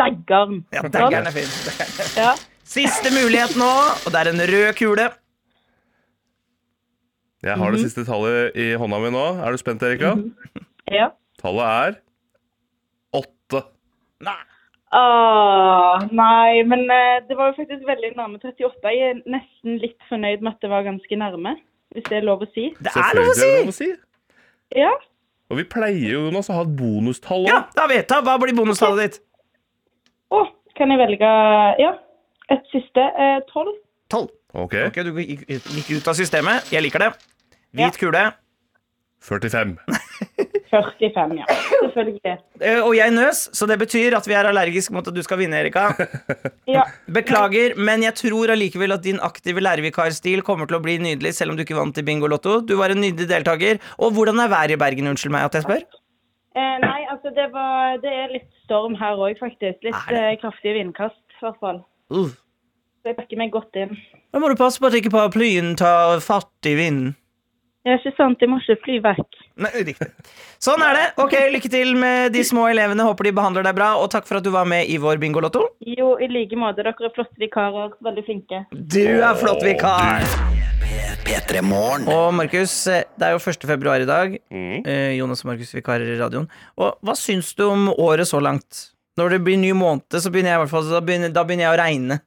Daggeren.
Ja, daggeren er fin. Daggeren.
Ja.
Siste mulighet nå, og det er en rød kule.
Jeg har det
Mhm.
siste tallet i hånda mi nå. Er du spent, Erika?
ja.
Tallet er 8.
Åh, nei, men eh, det var jo faktisk veldig nærme 38. Jeg er nesten litt fornøyd med at det var ganske nærme, hvis det er lov å si.
Det er lov å si!
er det lov å si.
Ja,
Og vi pleier jo Jonas, å ha et bonustall òg.
Ja, da vet jeg. Hva blir bonustallet ditt?
Åh, kan jeg velge ja, et siste? Eh, 12?
Tolv. Ok, du gikk gikk ut av systemet. Jeg liker det.
Ja.
Hvit kule.
45.
45, ja. Selvfølgelig.
Eh, Og jeg nøs, så det betyr at vi er allergisk mot at du skal vinne, Erika.
Ja,
Beklager, men jeg tror allikevel at din aktive lærervikarstil kommer til å bli nydelig, selv om du ikke vant i Bingo Lotto. Du var en nydelig deltaker. Og hvordan er været i Bergen? Unnskyld meg at jeg spør.
eh, nei, altså det, var, det er litt storm her òg, faktisk. Litt
Er det?
eh, kraftige vindkast, i hvert fall.
Uh.
Så jeg bakker meg godt inn.
Da må du passe på at ikke paraplyen tar fatt i vinden.
Det er ikke sant, jeg må ikke fly vekk.
Nei, riktig. Sånn er det. Ok, Lykke til med de små elevene. Håper de behandler deg bra. Og takk for at du var med i vår Bingolotto.
Jo, i like måte. Dere er flotte vikarer. Veldig flinke.
Du er flott vikar!
P3 Morgen.
Og Markus, eh, det er jo 1. februar i dag.
Mm.
Eh, Jonas og Markus vikarer i radioen. Og hva syns du om året så langt? Når det blir ny måned, så begynner jeg i hvert fall Da begynner, da begynner jeg å regne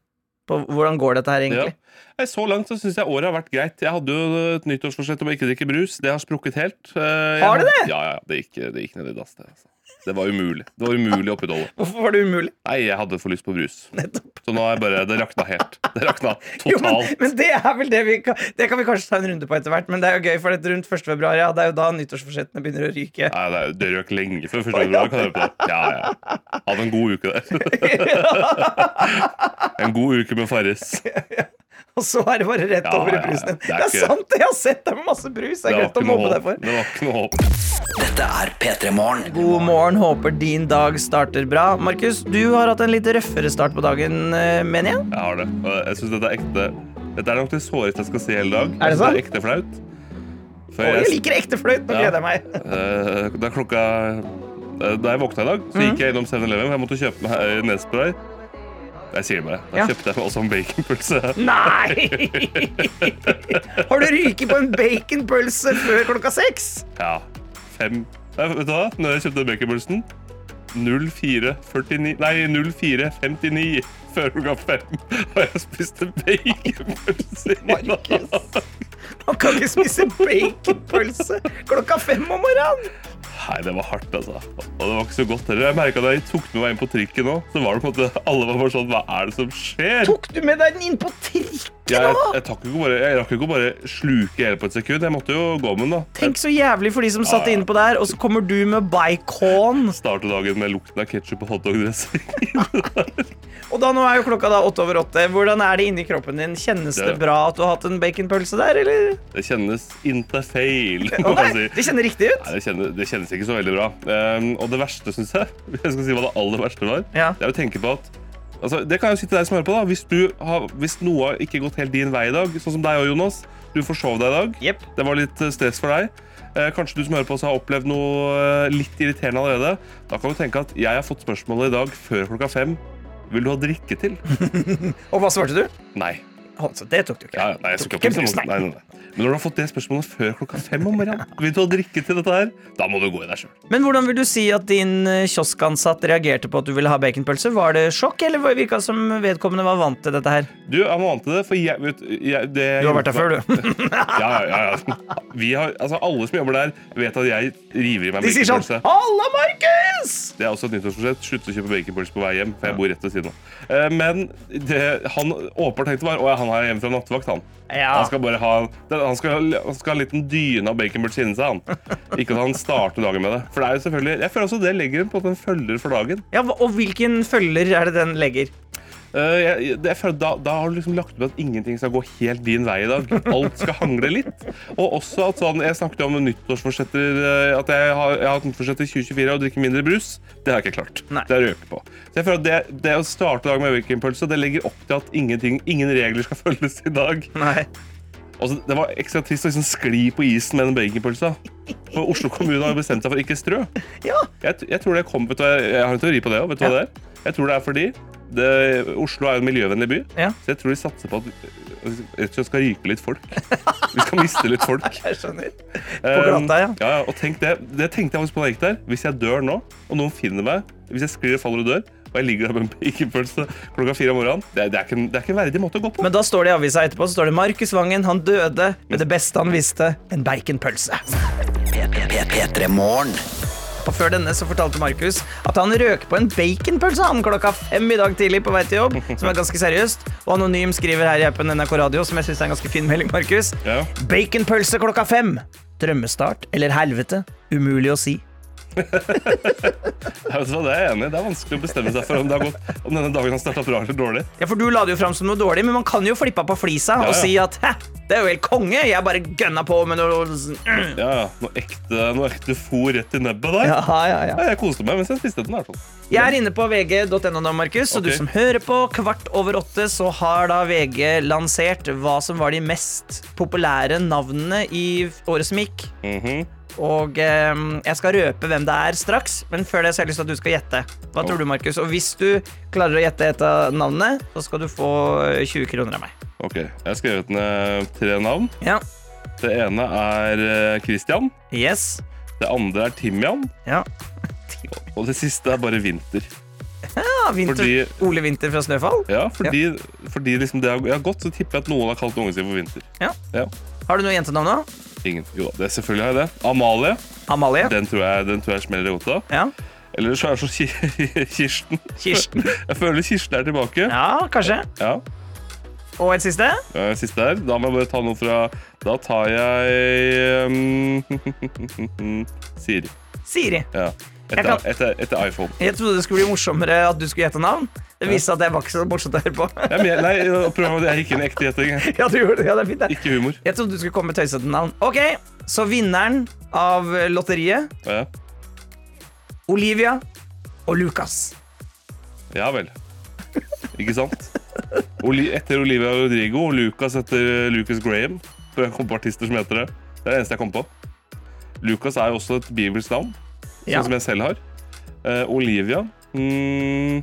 på hvordan går dette her, egentlig.
Nei, Så langt så syns jeg året har vært greit. Jeg hadde jo et nyttårsforsett om å ikke drikke brus. Det har sprukket helt. Eh, jeg
Har det
hadde- Ja, ja, ja. det gikk, det gikk ned i dass. Det, altså. det var umulig. Det var umulig å opprettholde.
Hvorfor var det umulig?
Nei, jeg hadde for lyst på brus. Så nå er jeg bare, det rakna helt. Det rakna
Jo, men,
totalt.
men det er vel det vi kan Det kan vi kanskje ta en runde på etter hvert, men det er jo gøy, for det er rundt 1. februar, ja, det er jo da nyttårsforsettene begynner å ryke.
Nei, det, er- det røk lenge før første februar. Kan jeg høre på det. Ja, ja. Hadde en god uke der. en god uke med Farris.
og så er det bare rett
Ja,
over i
ja, ja.
brusen.
Det
Det
er
er,
ikke-
sant, jeg har sett deg med masse brus. Det er
Det var
greit å
ikke noe
mobbe deg
håp.
for.
Det var ikke noe håp.
Dette er P3 Morgen.
God morgen, håper din dag starter bra. Markus, du har hatt en litt røffere start på dagen, eh, mener jeg?
Jeg har det. Og Jeg synes dette er ekte. Dette er nok det såreste jeg skal si hele dag.
Er det
Jeg synes
sant?
er ekte flaut. For
Å, jeg
jeg-
liker ekte fløyt, nå
Ja.
gleder jeg meg.
Eh, da klokka eh, Da jeg våkna i dag, så
Mm.
gikk jeg innom 7-Eleven. for Jeg måtte kjøpe meg eh, nesespray. Jeg sier det bare. Da
Ja.
kjøpte jeg meg også en baconpølse.
Nei! Har du ryket på en baconpølse før klokka seks?
Ja. Fem Nei, Vet du hva? Når jeg kjøpte baconpølsen 0449 Nei, 0459 før klokka fem. Og jeg spiste baconpølse i dag.
Markus. Man kan ikke spise baconpølse klokka fem om morgenen!
Nei, det var hardt, altså. Og det var ikke så godt heller. Jeg merket da jeg tok med meg inn på trikken nå, så var det på en måte Alle var bare sånn Hva er det som skjer?
Tok du med deg den inn på trikken
Jeg,
òg?
jeg, takk ikke bare, jeg rakk jo ikke å bare sluke hele på et sekund. Jeg måtte jo gå med den. da.
Tenk så jævlig for de som satt
Ja, ja.
innpå der, og så kommer du med bacon.
Starte dagen med lukten av ketsjup og hotdog-dressing.
Og da nå er jo klokka da åtte over åtte. Hvordan er det inni kroppen din? Kjennes det
Det-
bra at du har hatt en baconpølse der, eller?
Det kjennes interfail.
Å
må
nei,
jeg si.
det kjenner riktig ut.
Nei, det, kjennes, det kjennes ikke så veldig bra. Ehm, og det verste, syns jeg Hvis jeg skal si hva det aller verste var,
Ja.
det er å tenke på at altså, Det kan jeg jo si til deg som hører på, da. Hvis, du har, hvis noe har ikke gått helt din vei i dag, sånn som deg og Jonas Du forsov deg i dag.
Jepp.
Det var litt eh, stress for deg. Eh, Kanskje du som hører på oss har opplevd noe eh, litt irriterende allerede. Da kan du tenke at jeg har fått spørsmålet i dag før klokka fem. Vil du ha drikke til?
Og hva svarte du?
Nei.
Å, så det tok du ikke.
Ja, ja, nei, jeg
Tok
skal
ikke
ikke opp
en
med
brus,
sånn- nei, nei, nei. Men når du har fått det spørsmålet før klokka fem om morgenen, vil du ha drikke til dette her? Da må du gå i deg sjøl.
Men hvordan vil du si at din eh, kioskansatt reagerte på at du ville ha baconpølse? Var det sjokk, eller var- virka det som vedkommende var vant til dette her?
Du, jeg må vant til det, for jeg vet jeg, det,
Du har vært der før, du.
Ja, ja, ja, ja. Vi har, altså, alle som jobber der, vet at jeg river i meg
De sier sånn
baconpølse.
Halla, Markus!
Det er også et nyttårsforsett. Slutt å kjøpe baconpølse på vei hjem. For jeg bor rett ved siden av. Eh, Men det han åpenbart tenkte, var Å ja, han er hjemme fra nattevakt, han.
Ja.
Han skal bare ha det- han skal, han skal ha en liten dyne av baconpølse inni seg, han. Ikke at han starter dagen med det. For det er jo selvfølgelig Jeg føler også det legger en på en følger for dagen.
Ja, hva- Og hvilken følger er det den legger?
Eh, jeg, det- jeg føler at da, da har du liksom lagt opp til at ingenting skal gå helt din vei i dag. Alt skal hangle litt. Og også at sånn, Jeg snakket jo om nyttårsforsetter eh, At jeg har, jeg har hatt nyttårsforsett i 2024 og drikker mindre brus. Det har jeg ikke klart.
Nei.
Det har jeg røket på. Så jeg føler at det, det å starte dagen med baconpølse det legger opp til at ingenting, ingen regler skal følges i dag.
Nei.
Og så- det var ekstra trist å liksom skli på isen med den baconpølsa. For Oslo kommune har bestemt seg for ikke strø.
Ja.
Jeg, t- jeg tror det kom, vet du, hva, jeg, jeg har en teori på det òg. Vet du hva det er? Jeg tror det er fordi det, Oslo er jo en miljøvennlig by.
Ja.
Så jeg tror de satser på at vi rett og slett skal ryke litt folk. Vi skal miste litt folk.
Jeg skjønner.
På
glatta, ja.
ja. Og tenk det, det tenkte jeg faktisk på da jeg gikk der. Hvis jeg dør nå, og noen finner meg, hvis jeg sklir og faller og dør, og jeg ligger der med en baconpølse klokka fire om morgenen, det, er- det, er ikke, en- det er ikke en verdig måte å gå på.
Men da står det i avisa etterpå så står det Markus Vangen han døde med det beste han visste, en baconpølse.
P3 Morgen.
Og før denne så fortalte Markus at han røk på en baconpølse han klokka fem i dag tidlig på vei til jobb, som er ganske seriøst. Og Anonym skriver her i appen NRK Radio, som jeg syns er en ganske fin melding, Markus.
Ja.
Baconpølse klokka fem. Drømmestart eller helvete? Umulig å si.
Ja, vet du hva, det er jeg enig i. Det er vanskelig å bestemme seg for om, det har gått, om denne dagen har starta bra eller dårlig.
Ja, for Du la det jo fram som noe dårlig, men man kan jo flippe av på flisa
Ja,
og
ja.
si at Hæ, det er jo helt konge, jeg bare gønna på med noe sånn, mm."
Ja, ja. Noe ekte, noe ekte fôr rett i nebbet der.
ja, ja, ja.
Ja, jeg koste meg mens jeg spiste den. i hvert fall.
Jeg er inne på vg.no nå, Markus, og
Ok.
du som hører på, kvart over åtte så har da VG lansert hva som var de mest populære navnene i året som gikk.
Mhm.
Og eh, jeg skal røpe hvem det er straks, men før det så har jeg lyst til at du skal gjette. Hva tror du, Markus? Og hvis du klarer å gjette et av navnene, så skal du få eh, 20 kroner av meg.
Ok, Jeg har skrevet ned tre navn.
Ja.
Det ene er eh, Christian.
Yes.
Det andre er Timian.
Ja.
Og det siste er bare Vinter.
Ja, Winter,
Fordi-
Ole Winther fra Snøfall.
Ja, Fordi, fordi liksom det har, jeg har gått, så tipper jeg at noen har kalt ungen sin for Vinter.
Ja. Har du noe jentenavn nå?
Ingen. Jo da, det, selvfølgelig har jeg det. Amalie.
Amalie?
Den tror jeg, den tror jeg smeller i rota.
Ja.
Eller så er det så Ki- Kirsten.
Kirsten.
Jeg føler Kirsten er tilbake.
Ja, kanskje.
Ja.
Og et siste?
Eh, Siste her. Da må jeg bare ta noe fra Da tar jeg ehm, Siri.
Siri.
Ja.
Jeg
Etter,
kan-
etter, etter iPhone.
Jeg trodde det skulle bli morsommere at du skulle gjette navn, Det viste seg at jeg var ikke så morsomt å høre på.
Ja, men jeg, nei, prøv, jeg gikk inn i ekte gjetting. jeg.
Ja, du gjorde det. Ja, det er fint, det.
Ikke humor.
Jeg trodde du skulle komme med tøysete navn. Ok, Så vinneren av lotteriet,
Ja,
Olivia og Lucas.
ja vel. Ikke sant? Oli, etter Olivia Rodrigo og Lucas etter eh, Lucas Graham. For jeg kom på artister som heter det. Det er det eneste jeg kom på. Lucas er jo også et bibelsk navn,
Ja.
sånn som jeg selv har. Eh, Olivia mm,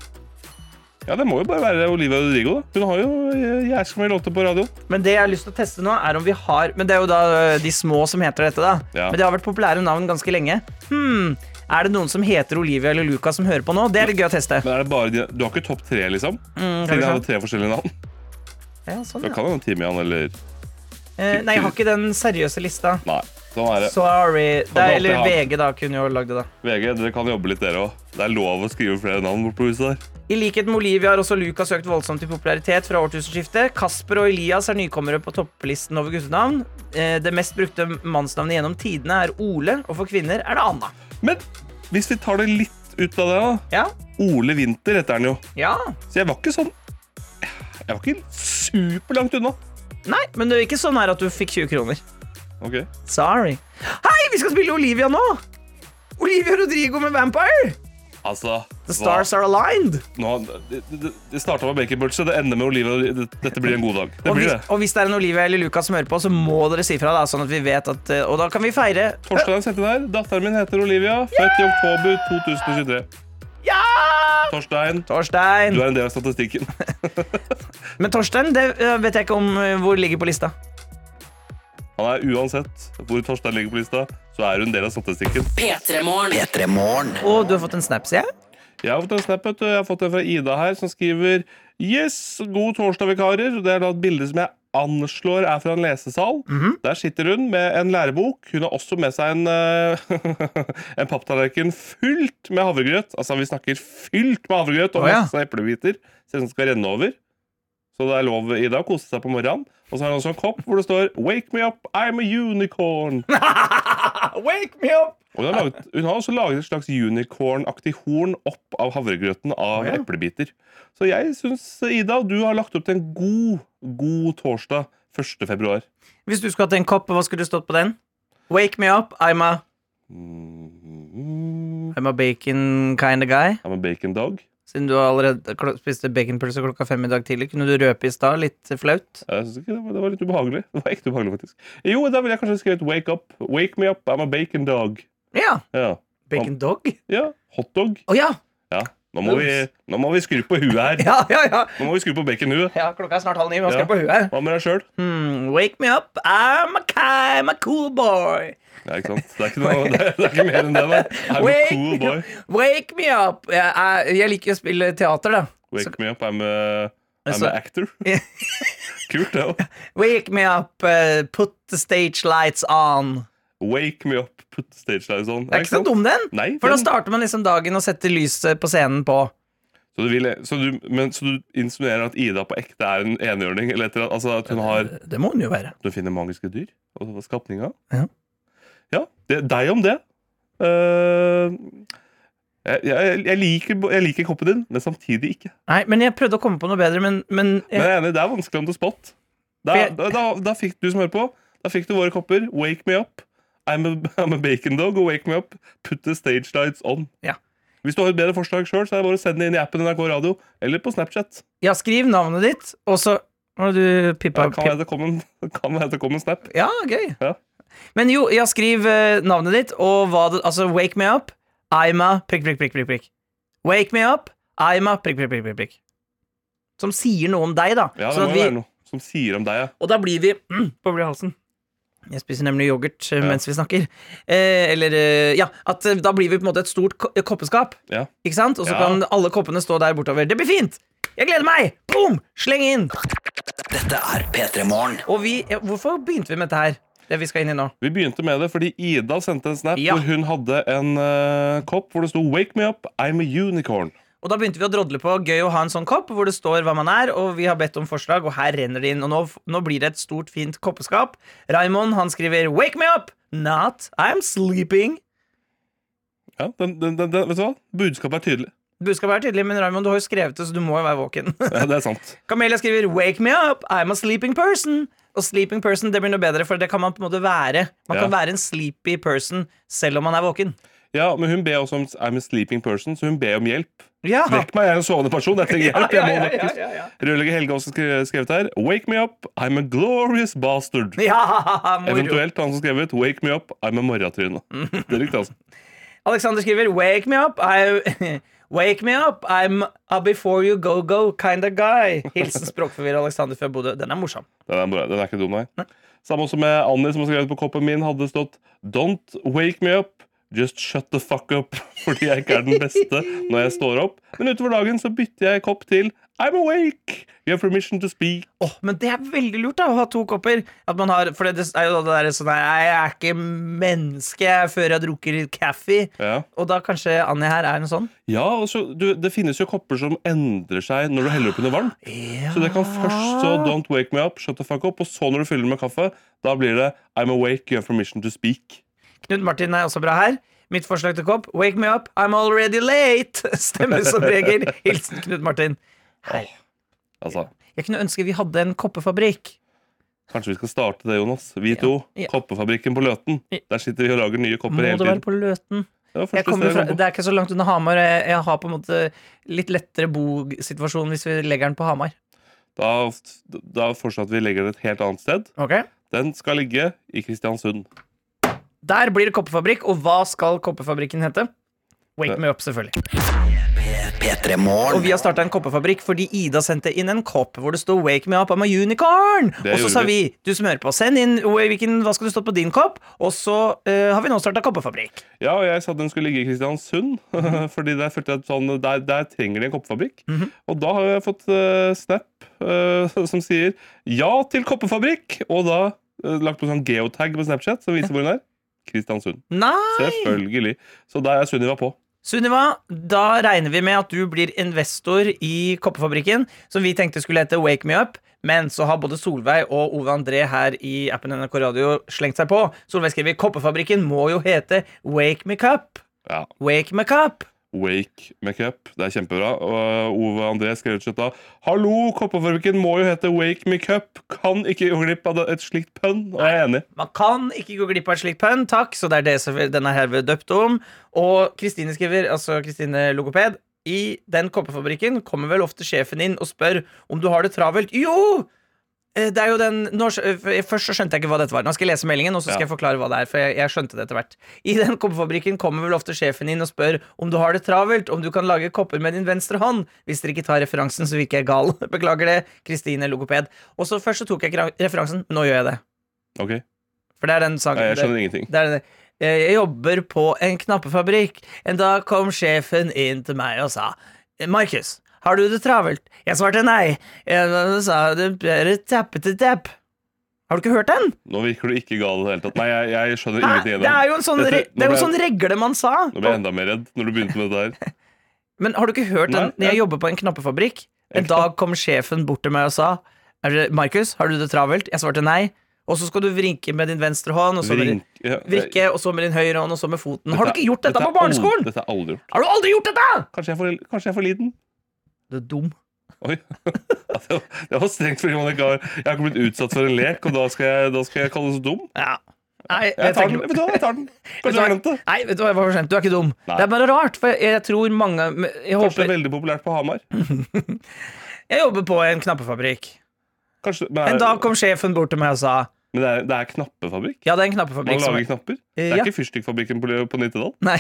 Ja, det må jo bare være Olivia Rodrigo, da. Hun har jo eh, jævlig mye låter på radio.
Men det jeg har lyst til å teste nå, er om vi har Men det er jo da ø, de små som heter dette, da.
Ja.
Men det har vært populære navn ganske lenge. Hmm, er det noen som heter Olivia eller Lucas som hører på nå? Det er litt gøy å teste.
Men er det bare de, Du har ikke topp tre, liksom?
Mm, skal
Siden
vi
jeg
se.
hadde tre forskjellige navn.
Ja, sånn,
Da
ja.
kan det være Timian eller
Eh, nei, jeg har ikke den seriøse lista.
Nei. Sånn er det.
Sorry. Det
håper
er,
jeg
eller
har-
VG, da, kunne jo lagd det, da.
VG, dere kan jobbe litt, dere òg. Det er lov å skrive flere navn bort på huset der.
I likhet med Olivia har også Lucas økt voldsomt i popularitet fra årtusenskiftet. Kasper og Elias er nykommere på topplisten over guttenavn. Eh, Det mest brukte mannsnavnet gjennom tidene er Ole, og for kvinner er det Anna.
Men hvis vi tar det litt ut av det, da.
Ja,
Ole Winther heter han jo.
ja.
Så jeg var ikke sånn Jeg var ikke superlangt unna.
Nei, men det er ikke sånn her at du fikk 20 kroner.
Ok.
Sorry. Hei, vi skal spille Olivia nå! Olivia Rodrigo med Vampire!
Altså
The stars are aligned.
nå, Det, det, det starta med baconpølse, det ender med Olivia. Det, dette blir en god dag. Det
Og
blir
hvis,
det.
og hvis det er en Olivia eller Lucas som hører på, så må dere si fra. Da, sånn at vi vet at, eh, og da kan vi feire.
Torstein sendte der. Datteren min heter Olivia. Født i oktober 2023.
Ja!
Torstein,
Torstein.
du er en del av statistikken.
Men Torstein det eh, vet jeg ikke om eh, hvor ligger på lista.
Han er uansett hvor Torstein ligger på lista, så er du en del av statistikken.
P3morgen.
P3 Morgen.
Og du har fått en snap, sier jeg.
Jeg har fått en snap, vet du. Jeg har fått en fra Ida her, som skriver Yes, god torsdag, vikarer. Det er da et bilde som jeg anslår er fra en lesesal.
Mhm.
Der sitter hun med en lærebok. Hun har også med seg en, eh, en papptallerken fylt med havregrøt. Altså, vi snakker fylt med havregrøt og
Å, ja.
masse eplebiter. Ser ut som det skal renne over. Så det er lov, Ida, å kose seg på morgenen. Og så har hun også en kopp hvor det står 'Wake me up, I'm a unicorn'.
Wake me up!
Og hun, har laget, hun har også laget et slags unicorn-aktig horn opp av havregrøten av
Å, ja.
eplebiter. Så jeg syns, Ida, du har lagt opp til en god, god torsdag 1. februar.
Hvis du skulle hatt en kopp, hva skulle det stått på den? Wake me up, I'm a,
Mm,
I'm a bacon kind of guy.
I'm a bacon dog.
Siden du allerede klo- spiste baconpølse klokka fem i dag tidlig, kunne du røpe i stad litt flaut?
Jeg synes ikke det, var, det var litt ubehagelig. Det var ekte ubehagelig, faktisk. Jo, da ville jeg kanskje skrevet 'Wake up'. Wake me up, I'm a bacon dog.
Ja.
Ja.
Bacon dog? Å
ja. Hotdog.
ja.
Ja. Nå må, vi, nå må vi skru på huet her.
Ja, ja, ja.
Nå må vi skru på baconhuet.
ja. Klokka er snart halv ni, men hva skal
Ja.
jeg på huet her?
Hva med deg sjøl?
Hmm, wake me up, I'm a, I'm a cool boy.
Ja, ikke sant? Det er ikke, noe, det er, det er ikke mer enn det, da. I'm a
Wake
cool boy.
Wake me up. Jeg, er- jeg liker å spille teater, da.
Wake
Så, Altså-
me up, I'm a, I'm
Så-
a actor. Kult, det òg.
wake me up, eh, put the stage lights on.
Wake me up, put stage lights on.
Det er ikke så dum, den.
Nei,
For da
den-
starter man liksom dagen og setter lyset på scenen på.
så, du vil, så, du, men, så du insinuerer at Ida på ekte er en enhjørning? Eller etter, at- altså
Eh.
at hun har
Det må den jo være.
Du finner magiske dyr og skapninger?
Ja.
ja det, deg om det. Eh, jeg, jeg, jeg, liker, jeg liker koppen din, men samtidig ikke.
Nei, men jeg prøvde å komme på noe bedre, men, men
Men jeg er enig, det er vanskelig om til spot. Da,
For jeg-
da, da, da fikk du som hører på, da fikk du våre kopper. Wake me up. I'm a, I'm a bacon dog. Og wake me up. Put the stage lights on.
Ja.
Hvis du har et bedre forslag sjøl, er det bare å sende det inn i appen NRK Radio eller på Snapchat.
Ja, skriv navnet ditt, og så Hva var det du pippa?
Da kan være det kom en, kan være det kom en snap.
Ja, gøy.
Ja.
Men jo, ja, skriv eh, navnet ditt og hva det Altså, wake me up, I'm a prikk, prikk, prikk, prikk, prikk. Wake me up, I'm a prikk, prikk, prikk, prikk, prikk. Som sier noe om deg, da.
Ja, det
Sånn at
må jo
vi-
være noe som sier om deg, ja.
og da blir vi mm, på blid halsen. Jeg spiser nemlig yoghurt eh,
Ja.
mens vi snakker. Eh, eller eh, Ja, at eh, da blir vi på en måte et stort ko eh, koppeskap.
Ja.
Ikke sant? Og så
Ja.
kan alle koppene stå der bortover. Det blir fint! Jeg gleder meg! Boom! Sleng inn!
Dette er P3 Morgen.
Og vi eh, Hvorfor begynte vi med dette her? Det vi skal inn i nå.
Vi begynte med det fordi Ida sendte en snap
Ja.
hvor hun hadde en eh, kopp hvor det sto 'Wake me up, I'm a unicorn'.
Og da begynte vi å drodle på gøy å ha en sånn kopp hvor det står hva man er, og vi har bedt om forslag, og her renner det inn. Og nå, nå blir det et stort, fint koppeskap. Raymond han skriver 'Wake me up! Not I'm sleeping'.
Ja, den, den, den, den, vet du hva? Budskapet er tydelig.
Budskapet er tydelig, men Raymond, du har jo skrevet det, så du må jo være våken.
Ja, det er sant.
Camelia skriver 'Wake me up, I'm a sleeping person'. Og sleeping person det blir noe bedre, for det kan man på en måte være. Man
Ja.
kan være en sleepy person selv om man er våken.
Ja, men hun ber også om I'm a sleeping person, så hun ber om hjelp.
Ja,
Vekk meg, jeg er en sovende person. Jeg trenger hjelp.
ja,
Jeg må
ja, ja,
vekkes.
ja, ja.
Rødlegger Helge har også skre- skrevet her. Wake me up, I'm a glorious bastard.
ja moro.
Eventuelt han som skrevet Wake me up, I'm a morratryne. Det likte altså.
Alexander skriver 'Wake me up, I Wake me up, I'm a before you go-go kind of guy. Hilsen språkforvirrer Alexander fra Bodø. Den er morsom.
Den er, bra. den er ikke dum, nei. Samme også med Annie, som har skrevet på koppen min, hadde stått Don't wake me up, just shut the fuck up. Fordi jeg ikke er den beste når jeg står opp. Men utover dagen så bytter jeg kopp til I'm awake, you have permission to speak.
Åh, men det er veldig lurt da, å ha to kopper. At man har, for det er jo det der sånn her Jeg er ikke menneske før jeg drukker kaffe.
Ja.
Og da kanskje Annie her er en sånn.
Ja, og så, du, Det finnes jo kopper som endrer seg når du heller oppi noe varmt. Så det kan først så Don't wake me up, shut the fuck up. Og så når du fyller med kaffe, da blir det I'm awake, you have permission to speak.
Knut Martin er også bra her. Mitt forslag til kopp Wake me up, I'm already late. Stemmer som regel. Hilsen Knut Martin. Her.
Altså,
Jeg kunne ønske vi hadde en koppefabrikk.
Kanskje vi skal starte det, Jonas. Vi to.
ja.
Koppefabrikken på Løten.
Ja.
Der sitter vi og lager nye
Må
kopper
det
hele
være
tiden.
på Løten?
Det var første
Jeg kommer
stedet
fra,
jeg kom
det er ikke så langt unna Hamar. og Jeg, jeg har på en måte litt lettere bosituasjon hvis vi legger den på Hamar.
på. Da, da fortsatt vi legger det et helt annet sted.
Ok
Den skal ligge i Kristiansund.
Der blir det koppefabrikk, og hva skal koppefabrikken hete? Wake me up, selvfølgelig.
P3
Og vi
Morgen.
har starta en koppefabrikk fordi Ida sendte inn en kopp hvor det sto 'Wake me up, I'm a unicorn'.
Det
Og så
gjorde
sa vi 'Du som hører på, send inn hvilken, hva skal du stå på din kopp', og så eh, har vi nå starta koppefabrikk.
Ja, og jeg sa at den skulle ligge i Kristiansund, fordi der følte jeg at sånn, der, der trenger de en koppefabrikk. Og da har jeg fått eh, snap eh, som sier 'ja til koppefabrikk', og da eh, lagt på sånn geotag på Snapchat som viser hvor hun er. Kristiansund.
Nei!
Selvfølgelig. Så der er Sunniva på.
Sunniva, da regner vi med at du blir investor i koppefabrikken, som vi tenkte skulle hete 'Wake me up'. Men så har både Solveig og Ove André her i appen NRK Radio slengt seg på. Solveig skriver 'Koppefabrikken må jo hete Wake me cup'.
Ja.
Wake me cup.
Wake Makeup. Det er kjempebra. Og eh, Ove André skrev ut skjøtta. Hallo, koppefabrikken må jo hete Wake Makeup. Kan ikke gå glipp av det- et slikt pønn. Og jeg er enig.
Man kan ikke gå glipp av et slikt pønn, takk, så det er det som- den er herved døpt om. Og Kristine skriver, altså Kristine Logoped, i den koppefabrikken kommer vel ofte sjefen inn og spør om du har det travelt. Jo! Eh, Det er jo den, nå, skj- eh, først så skjønte jeg ikke hva dette var. Nå skal jeg lese meldingen, og så skal
Ja.
jeg forklare hva det er. For jeg, jeg skjønte det etter hvert. I den koppefabrikken kommer vel ofte sjefen inn og spør om du har det travelt, om du kan lage kopper med din venstre hånd. Hvis dere ikke tar referansen, så virker jeg gal. Beklager det, Kristine Logoped. Og så først så tok jeg ikke ra- referansen, men nå gjør jeg det.
Ok,
For det er den sangen
Nei, Jeg
det-
skjønner ingenting.
det er den- Eh, Jeg jobber på en knappefabrikk. En dag kom sjefen inn til meg og sa Markus, har du det travelt? Jeg svarte nei. Eh, Han sa det bare tappete tapp. Har du ikke hørt den?
Nå virker du ikke gal i det hele tatt. Nei, jeg, jeg skjønner
Hæ?
ingenting i
Det
det.
er jo en sånn,
Dette-
re, det er jo
nå
en
ble
sånn
jeg-
regle man sa.
Nå ble jeg enda mer redd når du begynte med dette her.
Men har du ikke hørt den?
Nei,
Jeg
jeg-
jobber på en knappefabrikk. En dag kom sjefen bort til meg og sa «Er det- Markus, har du det travelt? Jeg svarte nei. Og så skal du vrinke med din venstre hånd, og så med din,
Vrink- ja,
vrikke, og så med din høyre hånd, og så med foten. Har du
dette-
ikke gjort dette
er
på
aldri-
barneskolen?
Dette er aldri gjort.
Har du aldri gjort dette?!
Kanskje jeg er for, kanskje jeg er for liten?
Du er dum.
Oi. Ja, Det var, det var strengt fordi man ikke har, jeg har ikke blitt utsatt for en lek, og da skal jeg, da skal jeg kalles dum?
Ja. Nei,
Jeg tar den.
tenker-
Vet du hva, jeg tar den.
Vet
Kanskje jeg glemte
du hva?
det.
Nei, vet du hva, jeg var for sent. Du er ikke dum.
Nei.
Det er bare rart, for jeg, jeg tror mange jeg,
Kanskje det
håper,
er veldig populært på Hamar.
jeg jobber på en knappefabrikk.
Kanskje, men,
En
er,
dag kom sjefen bort til meg og sa
men det, er, det er knappefabrikk?
Ja, det er en
Man
knappefabrikk som
lager knapper? Det
Ja.
er ikke fyrstikkfabrikken på, på Nittedal?
Nei,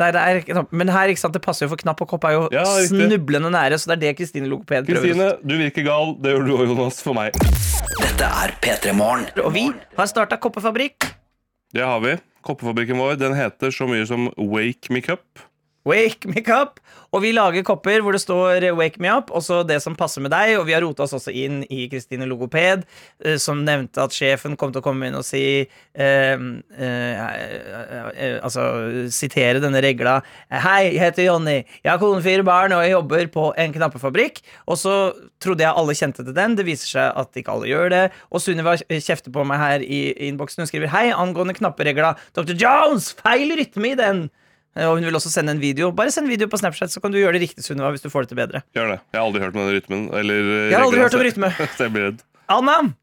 nei, det er knapp, men her, ikke sant, det passer jo for knapp og kopp er jo
Ja, riktig.
snublende nære, så det er det Kristine Logoped prøver.
Kristine, du virker gal. Det gjør du òg, Jonas, for meg.
Dette er P3 Morgen.
Og vi har starta koppefabrikk.
Det har vi. Koppefabrikken vår den heter så mye som Wake Me Cup.
Wake me up! Og vi lager kopper hvor det står eh, 'Wake me up', også det som passer med deg. Og vi har rota oss også inn i Kristine Logoped, eh, som nevnte at sjefen kom til å komme inn og si eh, eh, eh, eh, Altså sitere denne regla. 'Hei, jeg heter Jonny. Jeg har kone, fire barn, og jeg jobber på en knappefabrikk.' Og så trodde jeg alle kjente til den. Det viser seg at ikke alle gjør det. Og Sunniva kjefter på meg her i innboksen. Hun skriver 'Hei, angående knapperegla. Dr. Jones, feil rytme i den'. Eh, Og hun vil også sende en video. Bare send video på Snapchat, så kan du gjøre det riktig, Sunniva, hvis du får det til bedre.
Gjør det. Jeg har aldri hørt om den rytmen. Eller, eh,
Jeg har aldri
reglene,
hørt om
så-
rytme.
Så jeg blir redd.
Anna!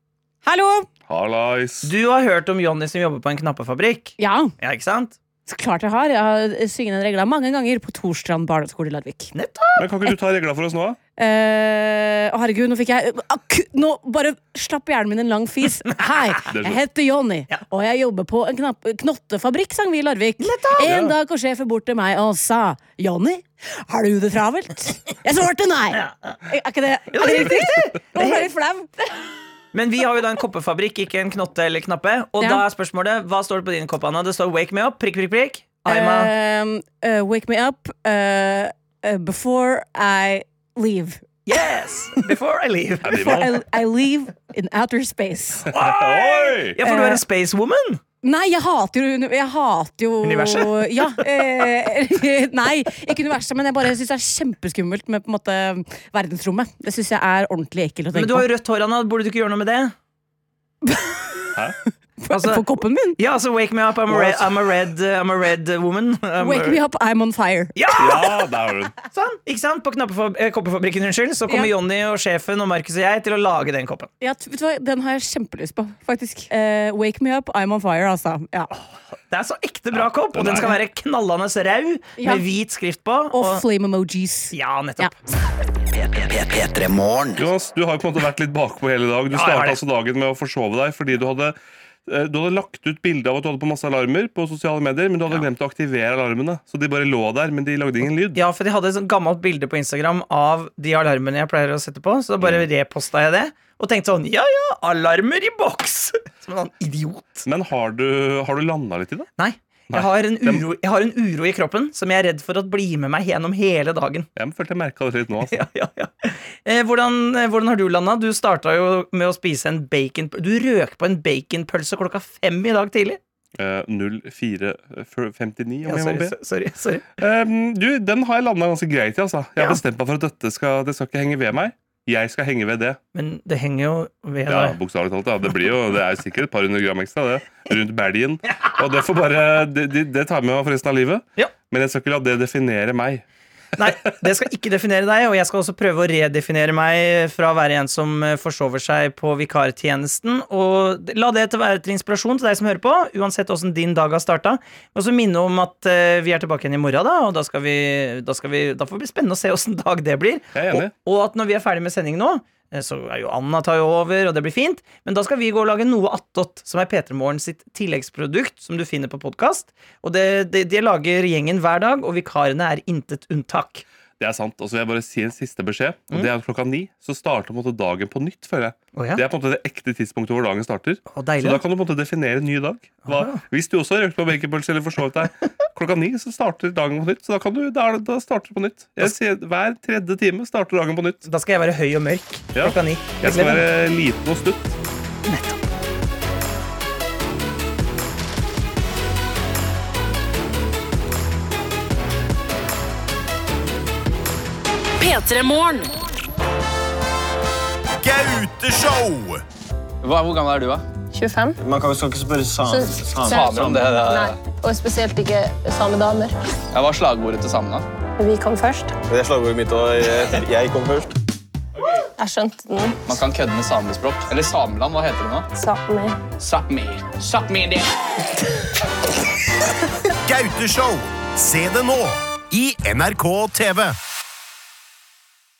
Hallo!
Hallais.
Du har hørt om Jonny som jobber på en knappefabrikk.
Ja,
Ja, ikke sant?
så klart jeg har. Jeg har synget den regla mange ganger på Torstrand barneskole i Larvik.
Nettopp!
Men kan ikke du ta regla for oss nå?
Eh, Å herregud, nå fikk jeg akku- Nå bare slapp hjernen min en lang fis. Hei, jeg heter Jonny, og jeg jobber på en knapp, knottefabrikk, sang vi i Larvik. En dag kom sjefen bort til meg og sa Jonny, har du det travelt? Jeg svarte nei. Er ikke det, er det riktig? Nå ble jeg litt flau.
Men vi har jo da en koppefabrikk, ikke en knotte eller knappe. Og
Ja.
da er spørsmålet, hva står det på din kopp, Anna? Det står 'Wake me up', prikk, prikk, prikk. I'm a
Eh, eh, wake me up eh, eh, before I leave.
Yes! Before I leave.
Before I, I leave in outer space.
Oi!
Ja, for du er en space woman.
Nei, jeg hater jo, jeg hater jo
Universet?
Ja, eh, nei, ikke universet, men jeg bare syns det er kjempeskummelt med på en måte verdensrommet. Det syns jeg er ordentlig ekkelt å
Men
tenke
du har
på.
jo rødt hår, Anna. Burde du ikke gjøre noe med det? Altså,
på koppen min.
ja, altså wake me up, I'm a red, I'm a red, uh, I'm a red uh, woman. I'm
Wake me up, I'm on fire.
Ja, der har du den.
Sånn, ikke sant? På knappefab- eh, koppefabrikken, unnskyld, så kommer
Ja.
Jonny og sjefen og Markus og jeg til å lage den koppen.
Ja, t- vet du hva, Den har jeg kjempelyst på, faktisk. Eh, wake me up, I'm on fire, altså. Ja.
Det er så ekte bra kopp, og den skal være knallende rau
Ja.
med hvit skrift på.
Og
Og,
flame emojis.
ja, nettopp.
P3 Morgen.
Jonas, du har jo på en måte vært litt bakpå hele dag. Du
Ja, jeg har
starta
det.
altså dagen med å forsove deg fordi du hadde eh, du hadde lagt ut bilde av at du hadde på masse alarmer, på sosiale medier, men du hadde glemt å aktivere alarmene. Så de bare lå der, men de lagde ingen lyd.
Ja, for de hadde et sånt gammelt bilde på Instagram av de alarmene jeg pleier å sette på, så da
Mm.
bare reposta jeg det, og tenkte sånn, ja ja, alarmer i boks! Som en sånn idiot.
Men har du, har du landa litt i det?
Nei.
Nei.
Jeg har, en uro, jeg har en uro i kroppen som jeg er redd for at blir med meg gjennom hele dagen.
Jeg følte jeg merka det litt nå. Altså.
Ja, ja, ja. Eh, hvordan, eh, hvordan har du landa? Du starta jo med å spise en bacon... Du røk på en baconpølse klokka fem i dag tidlig.
Eh, 0459, om
Ja,
jeg må
sorry,
be.
so- sorry, sorry.
Um, du, den har jeg landa ganske greit i. altså Jeg har
Ja.
bestemt meg for at dette skal, det skal ikke henge ved meg. Jeg skal henge ved det.
Men det henger jo ved
Ja,
deg.
Bokstavelig talt. Ja. Det blir jo, det er sikkert et par hundre gram ekstra det, rundt belgen. Og det, får bare, det, det, det tar jeg med meg for resten av livet.
Ja.
Men jeg skal ikke la det definere meg.
Nei, det skal ikke definere deg, og jeg skal også prøve å redefinere meg fra å være en som eh, forsover seg på vikartjenesten. Og la det til å være til inspirasjon til deg som hører på, uansett åssen din dag har starta. Og så minne om at eh, vi er tilbake igjen i morgen, da, og da, skal vi, da, skal vi, da får det bli spennende å se åssen dag det blir.
Jeg er enig.
Og, og at når vi er ferdig med sending nå, eh, så er jo Anna tar jo over, og det blir fint. Men da skal vi gå og lage noe attåt, som er P3 Morgen sitt tilleggsprodukt, som du finner på podkast. Og det, det, det lager gjengen hver dag, og vikarene er intet unntak.
Det er sant. Og så vil jeg bare si en siste beskjed. Og det er at klokka ni så starter på en måte dagen på nytt, føler jeg.
Å, ja.
Det er på en måte det ekte tidspunktet hvor dagen starter.
Å, deilig.
Så da kan du på en måte definere en ny dag. Hva, hvis du også har røkt på baconpølse eller forsovet deg klokka ni, så starter dagen på nytt. Så da, kan du, da, er det- da starter det på nytt. Jeg sier, hver tredje time starter dagen på nytt.
Da skal jeg være høy og mørk
Ja.
klokka ni.
Jeg skal være liten og stutt.
P3 Morgen.
Gauteshow!
hvor gammel er du, da?
25?
Man kan, skal ikke spørre samer, om det.
Nei. Og spesielt ikke samedamer.
Jeg var slagordet til samene.
Vi kom først.
Det er slagordet mitt, og jeg, kom først.
Jeg skjønte den.
Man kan kødde med samespråk. Eller Sameland, hva heter det nå?
Sami.
Sápmi. Sápmi det.
Gauteshow! Se det nå i NRK TV.